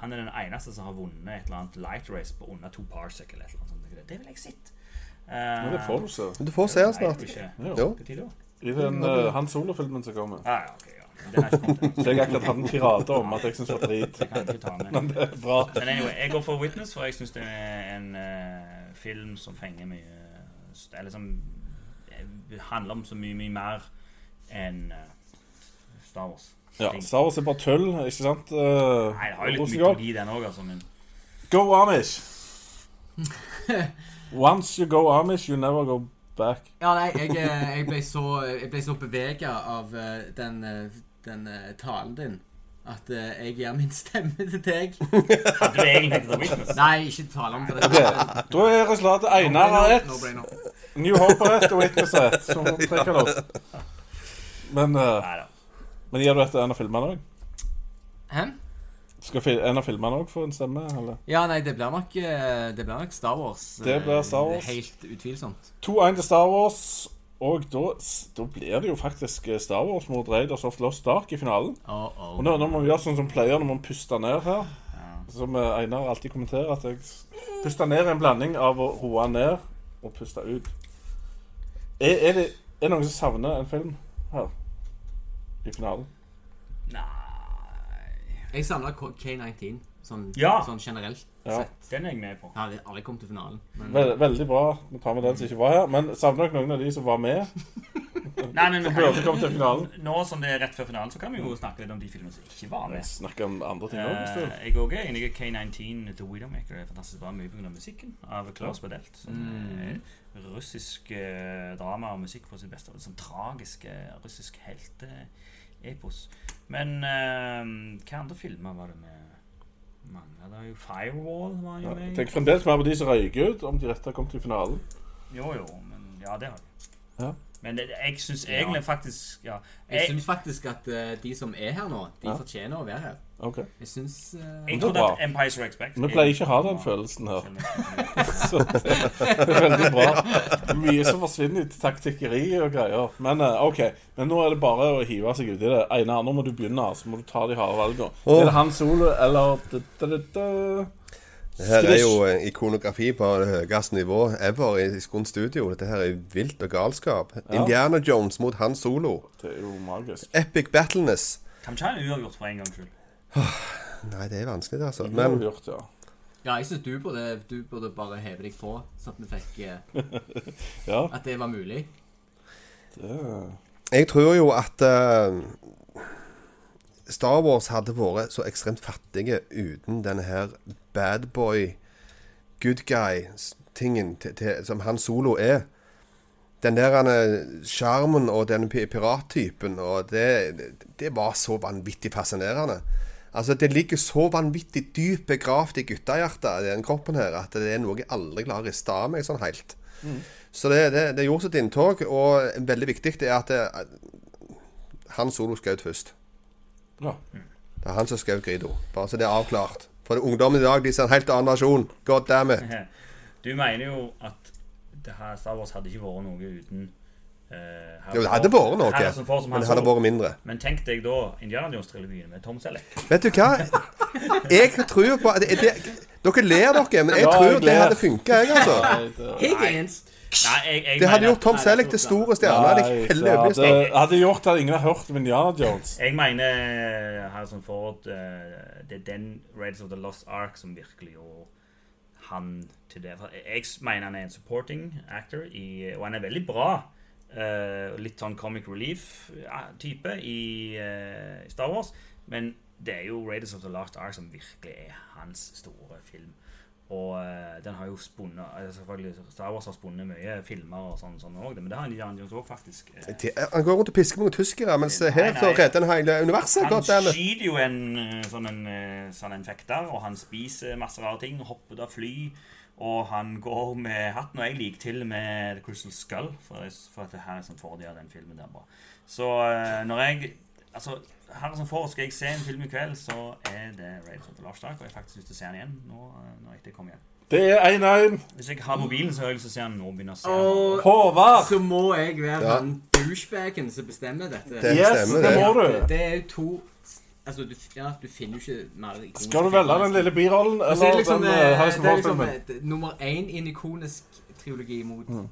Speaker 3: han er den eneste som har vunnet et eller annet light race på under to parsec eller et eller annet sånt. Det vil jeg sett.
Speaker 6: Men det får du se.
Speaker 1: Men Du får se den
Speaker 3: Nei, jeg
Speaker 1: snart.
Speaker 3: tror ikke.
Speaker 1: Jo.
Speaker 3: Hva tid da?
Speaker 6: I den uh, Han Solo-filmen som kommer.
Speaker 3: Ah, ja, ok, ja. Men Den har ikke kommet ennå.
Speaker 6: Så jeg akkurat hadde en tirade om at jeg syns det var drit.
Speaker 3: Det kan jeg ikke ta med.
Speaker 6: Men det er bra.
Speaker 3: Men anyway, jeg går for Witness, for jeg syns det er en eh, film som fenger mye st- Eller som eh, handler om så mye, mye mer enn eh, Star Wars.
Speaker 6: Ja,
Speaker 3: Ting.
Speaker 6: Star Wars er bare tull, ikke sant? Uh,
Speaker 3: Nei, det har jo litt mytologi, den òg, altså, men
Speaker 6: Go Amish! Once you go Amish, you never go back.
Speaker 7: Ja, nei, jeg, eh, jeg ble så, jeg ble så bevega av eh, den, eh, den eh, talen din at eh, jeg gir min stemme til deg.
Speaker 3: hadde du egentlig tenkt å ta Witness?
Speaker 7: Nei, ikke tale om det.
Speaker 6: Da er resultatet Einar har ett,
Speaker 7: No brainer.
Speaker 6: New Hope har ett og Witness har ett. Så må vi trekke det opp. Men, eh,
Speaker 3: Nei da.
Speaker 6: men gir du dette en av filmene òg?
Speaker 7: Hæ?
Speaker 6: Skal fil- en av filmene òg få en stemme? eller?
Speaker 7: Ja, nei, det blir nok, eh, det blir nok Star Wars. eh,
Speaker 6: Det blir Star Wars.
Speaker 7: Helt utvilsomt.
Speaker 6: 2-1 til Star Wars. Og da, da blir det jo faktisk eh, Star Wars mot Raiders of Lost Dark i finalen.
Speaker 7: Oh, oh.
Speaker 6: Og nå, nå må vi gjøre sånn som pleier når man puster ned her. Som eh, Einar alltid kommenterer, at jeg s- puster ned er en blanding av å roe ned og puste ut. Er, er, det, er det noen som savner en film her i finalen?
Speaker 7: Jeg samler K- K19 sånn,
Speaker 3: Ja.
Speaker 7: sånn generelt.
Speaker 6: Ja.
Speaker 3: Den er jeg med på.
Speaker 7: Ja, det- alle kom til finalen. Men
Speaker 6: Ve- veldig bra. Nå tar vi den som ikke var her. Men savner dere noen av de som var med?
Speaker 3: Nei, men vi
Speaker 6: Burde
Speaker 3: kan jo,
Speaker 6: komme til finalen.
Speaker 3: nå som det er rett før finalen, så kan vi jo snakke litt om de filmene som ikke var med.
Speaker 6: Snakke om andre ting òg, hvis du vil.
Speaker 3: Eh, Jeg òg er enig. i K19 The Widowmaker er fantastisk bra, mye pga. musikken av Klaus Badelt. Som er
Speaker 6: Mm.
Speaker 3: russisk eh, drama og musikk på sitt beste. og Sånn tragisk eh, russisk helteepos. Men eh, hva andre filmer var det med mangla? Det var jo Firewall var jo
Speaker 6: Ja,
Speaker 3: med.
Speaker 6: Tenk fremdeles mer på de som røyker ut, om de rette kom til finalen.
Speaker 3: Jo, jo, men ja, det har vi.
Speaker 6: Ja.
Speaker 3: Men det, jeg syns egentlig faktisk ja,
Speaker 7: jeg
Speaker 3: jeg,
Speaker 7: syns faktisk at eh, de som er her nå, de
Speaker 6: Ja.
Speaker 7: fortjener å være her.
Speaker 6: Ok.
Speaker 7: Jeg syns eh,
Speaker 3: jeg
Speaker 6: det var
Speaker 3: trodde at
Speaker 6: bra.
Speaker 3: Empires Strikes Back
Speaker 6: Vi pleier ikke å ha den følelsen her.
Speaker 3: følelsen.
Speaker 6: Så det er veldig bra. Mye som forsvinner ut. Taktikkeri og greier. Men eh, ok, men nå er det bare å hive seg uti det. Einar, nå må du begynne. Så må du ta de harde valgene. Er det Han Solo eller da-da-da-da?
Speaker 1: Det her er jo eh, ikonografi på det høyeste nivå ever i Skund Studio. Dette her er vilt og galskap. Indiana Jones mot Han Solo.
Speaker 6: Det er jo magisk.
Speaker 1: Epic battleness.
Speaker 3: Kan vi ikke ha en uavgjort for en gangs skyld?
Speaker 1: Nei, det er vanskelig, det, altså.
Speaker 6: Men,
Speaker 1: Men
Speaker 6: gjort, ja.
Speaker 7: Ja, jeg syns du, burde- du burde bare heve deg på, sånn at vi fikk eh,
Speaker 6: Ja.
Speaker 7: At det var mulig.
Speaker 6: Det,
Speaker 1: jeg tror jo at eh, Star Wars hadde vært så ekstremt fattige uten denne her bad boy, good guy-tingen til- til- som Han Solo er. Den der han, eh, sjarmen og den pi- pirattypen og det, det var så vanvittig fascinerende. Altså, Det ligger så vanvittig dypt begravd i guttehjertet, den kroppen her, at det er noe jeg aldri klarer å riste av meg sånn helt. Så det, det, det gjorde sitt inntog, og veldig viktig det er at det, han solo skjøt først.
Speaker 6: ja.
Speaker 1: Det er han som skjøt Grido. Bare så det er avklart. For ungdommen i dag de ser en helt annen nasjon. God damn it.
Speaker 3: Du mener jo at det her Star Wars hadde ikke vært noe uten eh, Harrison
Speaker 1: Jo, det hadde
Speaker 3: Ford-
Speaker 1: vært noe,
Speaker 3: Harrison Ford som
Speaker 1: men det
Speaker 3: Han
Speaker 1: hadde
Speaker 3: Solo.
Speaker 1: vært mindre.
Speaker 3: Men tenk deg da Indiana Jones-trilogien med Tom Selleck.
Speaker 1: Vet du hva? Jeg tror på det, det, Dere ler dere, men jeg
Speaker 6: Ja,
Speaker 1: tror
Speaker 6: jeg
Speaker 1: det
Speaker 6: ler.
Speaker 1: hadde funka, jeg, altså.
Speaker 6: Nei, det,
Speaker 7: Jeg er enst.
Speaker 3: Nei, jeg, jeg
Speaker 1: Det hadde
Speaker 3: mener-
Speaker 1: gjort Tom Selleck til store stjerner. Det
Speaker 6: nei,
Speaker 1: er
Speaker 6: det
Speaker 1: hele
Speaker 6: hadde,
Speaker 1: øyeblikket.
Speaker 6: hadde gjort at ingen har hørt om Indiana Jones.
Speaker 3: Jeg mener Harrison Ford eh, Det er den Raids of the Lost Ark som virkelig gjorde han til det. For Jeg mener han er en supporting actor, i, og han er veldig bra. eh, litt sånn comic relief-type i eh, Star Wars. Men det er jo Raiders of the Lost Ark som virkelig er hans store film. Og eh, den har jo spunnet altså selvfølgelig Star Wars har spunnet mye filmer og sånn sånn også, men det har Indiana Jones òg, faktisk. Eh,
Speaker 1: Det- Han går rundt og pisker noen tyskere, mens her
Speaker 3: Nei,
Speaker 1: så
Speaker 3: nei.
Speaker 1: redder han hele universet.
Speaker 3: Han
Speaker 1: God damn it.
Speaker 3: skyter jo en eh, sånn en, eh, sånn en fekter, og han spiser masse rare ting, hopper da fly, og han går med hatten, og jeg liker til og med The Crystal Skull, for, jeg- for at det her er sånn fordel av den filmen der bra. Så eh, når jeg Altså, her som får, skal jeg se en film i kveld, så er det Raiders of the Lost Ark. Og jeg har faktisk lyst til å se den igjen nå eh, når jeg kommer hjem.
Speaker 6: Det er 1-1.
Speaker 3: Hvis jeg har mobilen, så har jeg lyst til å se den nå. begynne å se den.
Speaker 7: Og
Speaker 6: Håvard.
Speaker 7: så må jeg være
Speaker 1: Ja.
Speaker 7: han douchebagen som bestemmer dette.
Speaker 1: Det
Speaker 6: Yes,
Speaker 1: stemmer,
Speaker 6: det
Speaker 1: det.
Speaker 6: må du.
Speaker 7: Det er jo to Altså, du, ja, du finner jo ikke mer ikoniske
Speaker 6: Skal du velge den lille birollen
Speaker 7: Og så
Speaker 6: eller
Speaker 7: er det liksom,
Speaker 6: den
Speaker 7: eh,
Speaker 6: eh, Harrison
Speaker 7: det er liksom
Speaker 6: Ford-filmen?
Speaker 7: eh, nummer én i en ikonisk triologi mot
Speaker 1: Mm.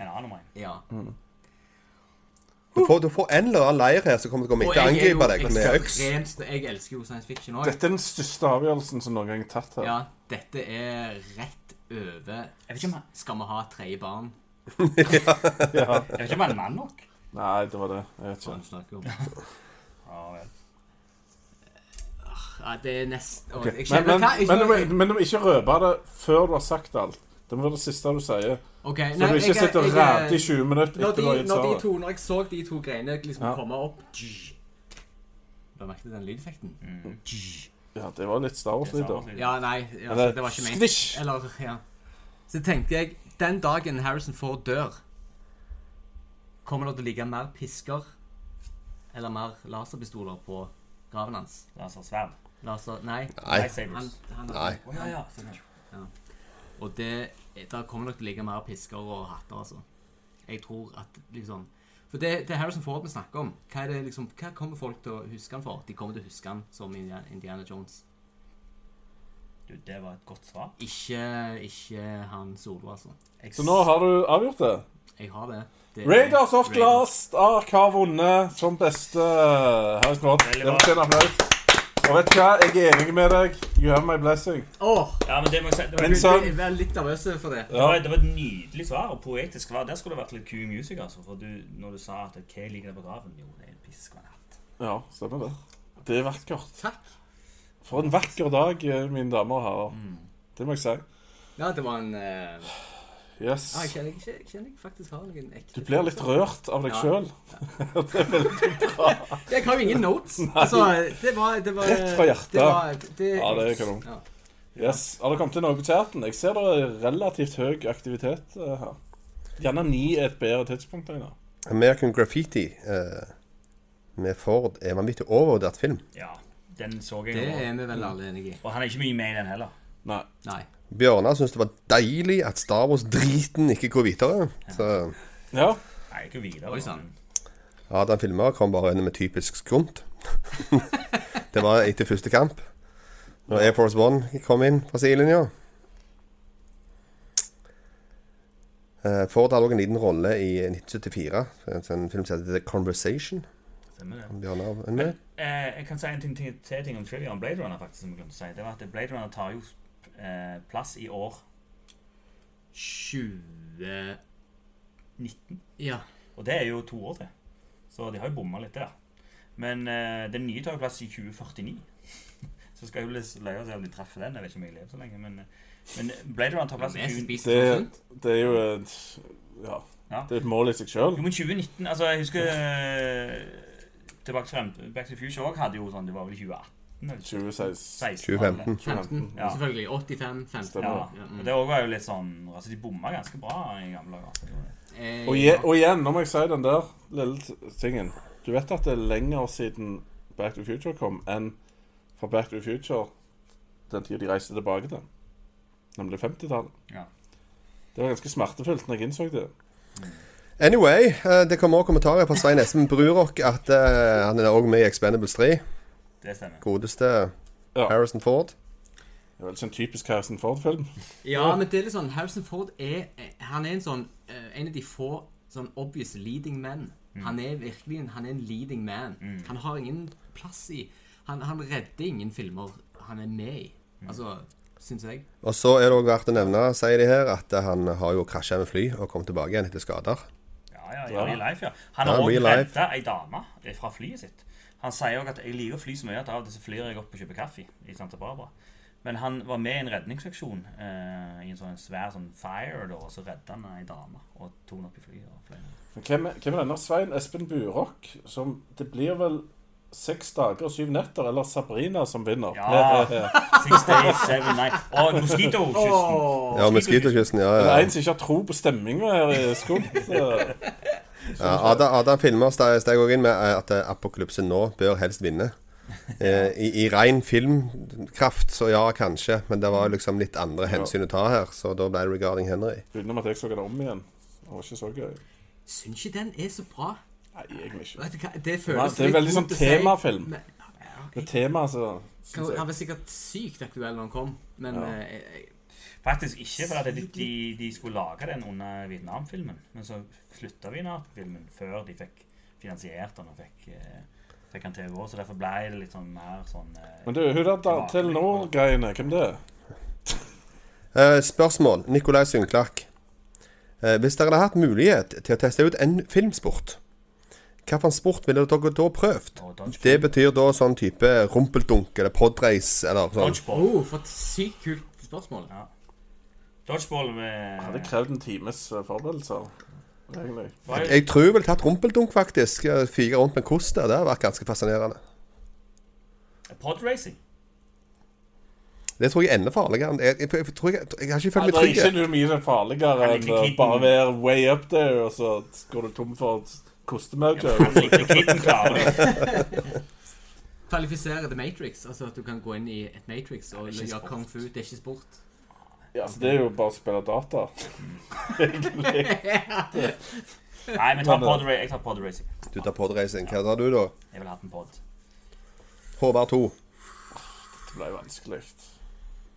Speaker 3: En annen meg.
Speaker 7: Ja.
Speaker 1: Du får, du får en eller annen leir her som kommer til å komme etter og angripe deg med øks.
Speaker 7: ekstremt sn- Jeg elsker jo science fiction òg.
Speaker 6: Dette er den største avgjørelsen som noen gang er tatt her.
Speaker 7: Ja, dette er rett over
Speaker 3: Jeg vet ikke om han-
Speaker 7: Skal vi ha et tredje barn?
Speaker 3: Jeg vet ikke om han er mann nok.
Speaker 6: Nei, det var det. Jeg vet
Speaker 7: Hva
Speaker 6: ikke.
Speaker 7: han snakker om.
Speaker 3: Ja, vel.
Speaker 7: Ja, det er nesten
Speaker 6: Ok,
Speaker 7: jeg
Speaker 6: Men,
Speaker 7: skjønner-
Speaker 6: men,
Speaker 7: hva? Jeg
Speaker 6: men,
Speaker 7: skjønner-
Speaker 6: men, men du må ikke røpe det før du har sagt alt. Det må være det siste du sier.
Speaker 7: Ok,
Speaker 6: Så
Speaker 7: nei,
Speaker 6: du ikke
Speaker 7: jeg-
Speaker 6: sitter og
Speaker 7: jeg-
Speaker 6: rater i 20 minutter
Speaker 7: når
Speaker 6: etter
Speaker 7: de,
Speaker 6: du har gitt
Speaker 7: når, de
Speaker 6: svaret.
Speaker 7: to, når jeg så de to greiene liksom
Speaker 6: Ja.
Speaker 7: komme opp Da merket du den lydeffekten?
Speaker 6: Ja, det var litt Star
Speaker 3: Det er Star
Speaker 6: Wars-lyd,
Speaker 3: Wars
Speaker 6: da.
Speaker 3: lyd.
Speaker 7: Ja, nei, ja,
Speaker 6: Eller
Speaker 7: så det var ikke meg.
Speaker 6: skvisj.
Speaker 7: Eller, ja. Så tenkte jeg, den dagen Harrison Ford dør, kommer det til å ligge mer pisker eller mer laserpistoler på graven hans?
Speaker 3: Det er altså sverd.
Speaker 7: Laser, nei.
Speaker 1: Nei.
Speaker 7: Han,
Speaker 3: Lightsabers.
Speaker 7: han,
Speaker 1: Nei.
Speaker 3: Å, ja, ja. sånn, ja.
Speaker 7: Og det, der kommer nok til å ligge mer pisker og hatter, altså. Jeg tror at liksom For det, det er Harrison Ford vi snakker om. Hva, er det, liksom, hva kommer folk til å huske han for? De kommer til å huske han som Indiana Indiana Jones.
Speaker 3: Du, det var et godt svar.
Speaker 7: Ikke, ikke han solo, altså.
Speaker 3: Jeg
Speaker 6: Så nå har du avgjort det.
Speaker 7: Jeg har det. det er-
Speaker 6: Raiders of
Speaker 7: Raiders.
Speaker 6: Glass Ark har vunnet som beste eh, Harrison Ford. Det
Speaker 3: Veldig bra.
Speaker 6: fortjener applaus. Og vet du hva? Jeg er enig med deg. You have my blessing.
Speaker 7: Åh,
Speaker 3: Ja, men det må jeg si. Det var,
Speaker 6: Men
Speaker 3: det
Speaker 6: så-
Speaker 7: jeg jeg var litt nervøs for det.
Speaker 6: Ja.
Speaker 3: var, det var et nydelig svar, og poetisk svar. Der skulle det vært litt Q-music, altså. For du, når du sa at hva ligger der på graven? Jo, det er en pisk og en hatt.
Speaker 6: Ja, stemmer det. Det er vakkert.
Speaker 7: Takk.
Speaker 6: For en vakker dag, eh, mine damer og herrer.
Speaker 7: Mm.
Speaker 6: Det må jeg si.
Speaker 7: Ja, det var en eh,
Speaker 6: Yes.
Speaker 7: ah, Jeg kjenner ikke jeg kjenner jeg faktisk har noen ekte
Speaker 6: Du blir litt rørt av deg
Speaker 7: Ja.
Speaker 6: sjøl.
Speaker 7: Jeg har jo ingen notes. Altså, det var, det var
Speaker 6: Rett fra hjertet.
Speaker 7: Det var, det,
Speaker 6: Ja, det er kanon.
Speaker 7: Ja.
Speaker 6: Yes. Har det kommet til noe på chatten? Jeg ser det er relativt høy aktivitet eh, her. Gjerne ni er et bedre tidspunkt, Einar.
Speaker 1: American Graffiti eh, med Ford er en vanvittig overvurdert film.
Speaker 3: Ja, den så jeg
Speaker 7: Det
Speaker 3: jo.
Speaker 7: er vi vel alle enige i.
Speaker 3: Og han er ikke mye med i den heller.
Speaker 6: Nei.
Speaker 7: Nei.
Speaker 1: Bjørnar syns det var deilig at Star Wars-driten ikke går videre. Så
Speaker 6: Ja.
Speaker 3: Nei, ikke videre.
Speaker 7: Oi, sann.
Speaker 1: ja, den filmen kom bare inn med typisk skumt. det var etter første kamp. Når Air Force One kom inn fra sidelinja. Eh, Ford hadde også en liten rolle i 1974. En sånn film som heter The Conversation.
Speaker 3: Stemmer det.
Speaker 1: Bjørnar, er du med?
Speaker 3: Eh, jeg kan si en ting til, til ting om trivia om Blade Runner, faktisk, som jeg glemte å si. Det var at Blade Runner tar jo eh, plass i år
Speaker 7: 20
Speaker 3: 19.
Speaker 7: Ja.
Speaker 3: Og det er jo to år til. Så de har jo bomma litt der. Men eh, den nye tar jo plass i 2049. Så skal jeg jo løye seg om de treffer den. Jeg vet ikke om jeg lever så lenge, men, eh, men Blade Runner tar plass i 20...
Speaker 7: Altså, spiser
Speaker 6: Det,
Speaker 7: sånn sunt.
Speaker 6: det er jo et, ja,
Speaker 3: Ja.
Speaker 6: det er et mål i seg sjøl.
Speaker 3: Jo, men 2019 Altså, jeg husker eh, Tilbake til Frem- Back to the Future også hadde jo sånn Det var vel i 2018 eller
Speaker 6: 2016.
Speaker 3: 2016?
Speaker 1: 2015.
Speaker 7: 15,
Speaker 3: Ja.
Speaker 7: selvfølgelig. 85, 15.
Speaker 6: Stemmer.
Speaker 3: Ja.
Speaker 7: Ja, mm.
Speaker 3: Og det også var jo litt sånn Altså, de bomma ganske bra i gamle dager. altså, gjorde de.
Speaker 7: Eh,
Speaker 6: Og, je, og igjen, nå må jeg si den der lille t- tingen. Du vet at det er lenger siden Back to the Future kom enn fra Back to the Future den tida de reiste tilbake til, nemlig 50-tallet.
Speaker 3: Ja.
Speaker 6: Det var ganske smertefullt når jeg innså det.
Speaker 1: Anyway, eh, det kommer også kommentarer fra Svein Espen Brurok at eh, han er også med i Expendables 3.
Speaker 3: Det stemmer.
Speaker 1: Godeste
Speaker 6: Ja.
Speaker 1: Harrison Ford.
Speaker 6: Det var liksom en typisk Harrison Ford-film.
Speaker 7: ja, men det er litt sånn Harrison Ford er eh, Han er en sånn eh, En av de få sånn obvious leading men.
Speaker 6: Mm.
Speaker 7: Han er virkelig en, han er en leading man. Han har ingen plass i Han, han redder ingen filmer han er med i.
Speaker 6: Mm.
Speaker 7: Altså, syns jeg.
Speaker 1: Og så er det også verdt å nevne, sier de her, at eh, han har jo krasja med fly og kom tilbake igjen etter skader.
Speaker 3: Ja, ja, ja, real life, ja. Han har
Speaker 1: Ja,
Speaker 3: også
Speaker 1: real life.
Speaker 3: redda ei dame eh, fra flyet sitt. Han sier òg at 'jeg liker å fly så mye at av og til så flyr jeg opp og kjøper kaffe i Santa Barbara'. Men han var med i en redningsaksjon eh, i en sånn svær sånn fire, da, og så redda han ei dame og tok henne opp i flyet. og fløy ned.
Speaker 6: Men Hvem, er- hvem er denne Svein Espen Burok? Som det blir vel seks dager og syv netter, eller Sabrina som vinner.
Speaker 3: Ja. Six days, seven nights Og mosquitokysten!
Speaker 1: Ja, Mosquitokysten, ja.
Speaker 6: Det er
Speaker 1: ja.
Speaker 6: en som ikke har tro på stemminga her i skolen. så-
Speaker 1: Ja, Adam, Adam Filmer ste- steg også inn med eh, at eh, apokalypse nå bør helst vinne. Eh, I, I ren filmkraft, så ja, kanskje. Men det var liksom litt andre hensyn å ta her, så da ble det regarding Henry.
Speaker 6: Uten om at jeg så det om igjen. Det var ikke så gøy.
Speaker 7: Syns ikke den er så bra.
Speaker 6: Nei, egentlig ikke.
Speaker 7: Vet du hva, det
Speaker 6: Ja,
Speaker 7: føles
Speaker 6: det er
Speaker 7: litt
Speaker 6: veldig
Speaker 7: vondt
Speaker 6: sånn
Speaker 7: å si,
Speaker 6: temafilm.
Speaker 7: men-
Speaker 6: Det temaet, altså. synes
Speaker 7: Han
Speaker 6: jeg-
Speaker 7: var sikkert sykt aktuell når han kom, men eh, jeg- jeg-
Speaker 3: Faktisk ikke, for at de, de, de skulle lage den under Vietnam-filmen. Men så slutta Vietnam-filmen før de fikk finansiert den og fikk, eh, fikk den til å gå. Så derfor ble det litt sånn mer sånn eh,
Speaker 6: Men du, hun der da, til nå-greiene, hvem det er?
Speaker 1: Eh, spørsmål. Nikolai Sundklakk. Eh, hvis dere hadde hatt mulighet til å teste ut en filmsport, hvilken sport ville dere da prøvd?
Speaker 3: og dodge-
Speaker 1: Det betyr da sånn type rumpeldunk eller podrace eller sånn.
Speaker 3: Dodgeball.
Speaker 7: Oh, for et sykt kult spørsmål.
Speaker 3: Dodgeball
Speaker 6: Ja, Det
Speaker 3: med
Speaker 6: krevde en times eh, forberedelser, egentlig.
Speaker 3: var jo-
Speaker 1: Jeg tror jeg ville tatt rumpeldunk, faktisk. Eh, Fyre rundt med koster. Det hadde vært ganske fascinerende.
Speaker 3: Podracing.
Speaker 1: Det tror jeg er enda farligere. enn- Jeg, jeg, jeg, tror jeg, jeg har ikke følt
Speaker 6: Nei, det er
Speaker 1: meg
Speaker 6: ikke
Speaker 1: trygg.
Speaker 6: noe mye farligere
Speaker 3: Nei,
Speaker 6: enn
Speaker 3: Click
Speaker 6: å
Speaker 3: Clinton.
Speaker 6: bare være way up there, og så går du tom for kostemaugja.
Speaker 3: Klitten klarer det.
Speaker 7: Kvalifisere The Matrix, altså at du kan gå inn i et Matrix og
Speaker 3: ikke
Speaker 7: gjøre
Speaker 3: sport.
Speaker 7: kung fu. Det er ikke sport.
Speaker 6: Ja, så det er jo bare å spille data.
Speaker 3: Nei, men ta podra jeg tar podracing.
Speaker 1: Du tar podracing. Hva tar du, da?
Speaker 3: Jeg ville hatt en pod.
Speaker 1: Håvard 2.
Speaker 6: Det ble vanskelig.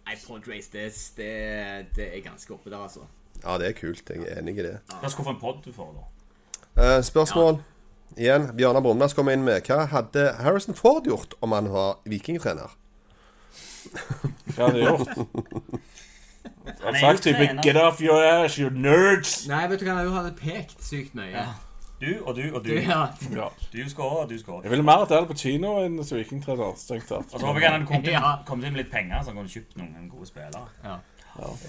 Speaker 7: Nei, podrace, det, det, det er ganske oppe der, altså.
Speaker 1: Ja, det er kult. Jeg er enig i det.
Speaker 3: Hva skulle få en pod du får, da?
Speaker 1: Eh, spørsmål igjen. Bjørnar Brumnes kom inn med Hva hadde Harrison Ford gjort om han var vikingtrener?
Speaker 6: Hva har de gjort?
Speaker 3: Han
Speaker 6: Han
Speaker 3: er
Speaker 6: har sagt
Speaker 3: jo
Speaker 6: type
Speaker 3: trener.
Speaker 6: 'get off your ass, you nerds'.
Speaker 7: Nei, vet du hva, du hadde pekt sykt mye. Ja.
Speaker 3: Du og du og
Speaker 7: Du,
Speaker 3: du.
Speaker 7: ja.
Speaker 6: Ja.
Speaker 3: Du skårer, og du skårer.
Speaker 6: Jeg ville mer at det hadde på kino enn som vikingtrener, strengt tatt.
Speaker 3: Og så håper jeg han kom til,
Speaker 7: Ja.
Speaker 3: kom til med litt penger, så han kunne kjøpt noen gode spillere.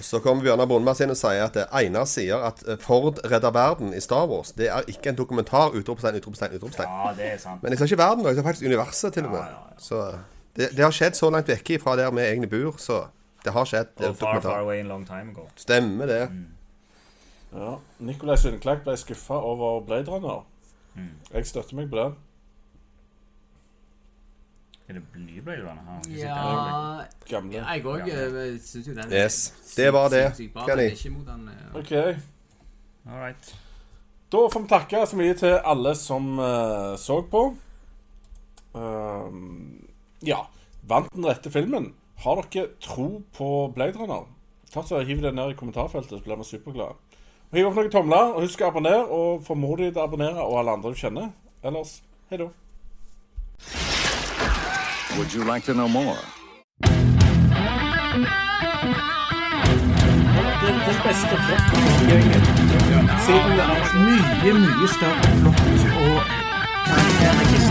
Speaker 1: Så kommer Bjørnar Brumnes inn og sier at eh, Einar sier at eh, Ford redder verden i Star Wars. Det er ikke en dokumentar! Utropstegn, utropstegn, utropstegn.
Speaker 3: Ja, det er sant.
Speaker 1: Men jeg sa ikke verden, jeg sa faktisk universet, til og med. Så eh, det, det har skjedd så langt vekke fra der vi egentlig bor, så det har skjedd. Det er
Speaker 3: Og far,
Speaker 1: dokumentar.
Speaker 3: far away in long time ago.
Speaker 1: Stemmer det.
Speaker 6: Ja. Nicolai Sundklakk ble skuffa over Blade Runner.
Speaker 3: Mm.
Speaker 6: Jeg støtter meg på det.
Speaker 3: Er det ny Blade Runner? Har han ikke sett den?
Speaker 7: ja.
Speaker 6: Gamle.
Speaker 7: Jeg òg eh, syns jo den er
Speaker 1: Yes.
Speaker 7: sykt-
Speaker 1: Det var det.
Speaker 7: sykt bra,
Speaker 1: Kan
Speaker 7: men
Speaker 1: jeg?
Speaker 7: Ikke mot den, eh,
Speaker 6: OK.
Speaker 3: All right.
Speaker 6: Da får vi takke så mye til alle som eh, så på. Ehm, ja. Vant den rette filmen? Har dere tro på Blade Runner? Ta så Hiv det ned i kommentarfeltet, så blir vi superglade. Og Hiv opp noen tomler, og husk å abonnere. Og formod deg til å abonnere, og alle andre du kjenner. Ellers, hei da.
Speaker 8: Would you like to know more?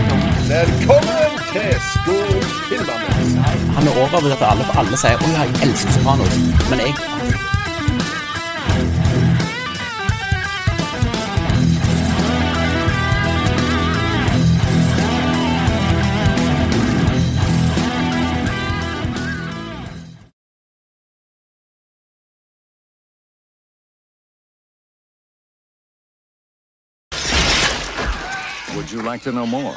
Speaker 1: Velkommen til Skogfilmene!
Speaker 9: Han er overbevist at alle, for alle sier 'Å ja, jeg elsker Sopranos', men jeg
Speaker 8: Would you like to know more?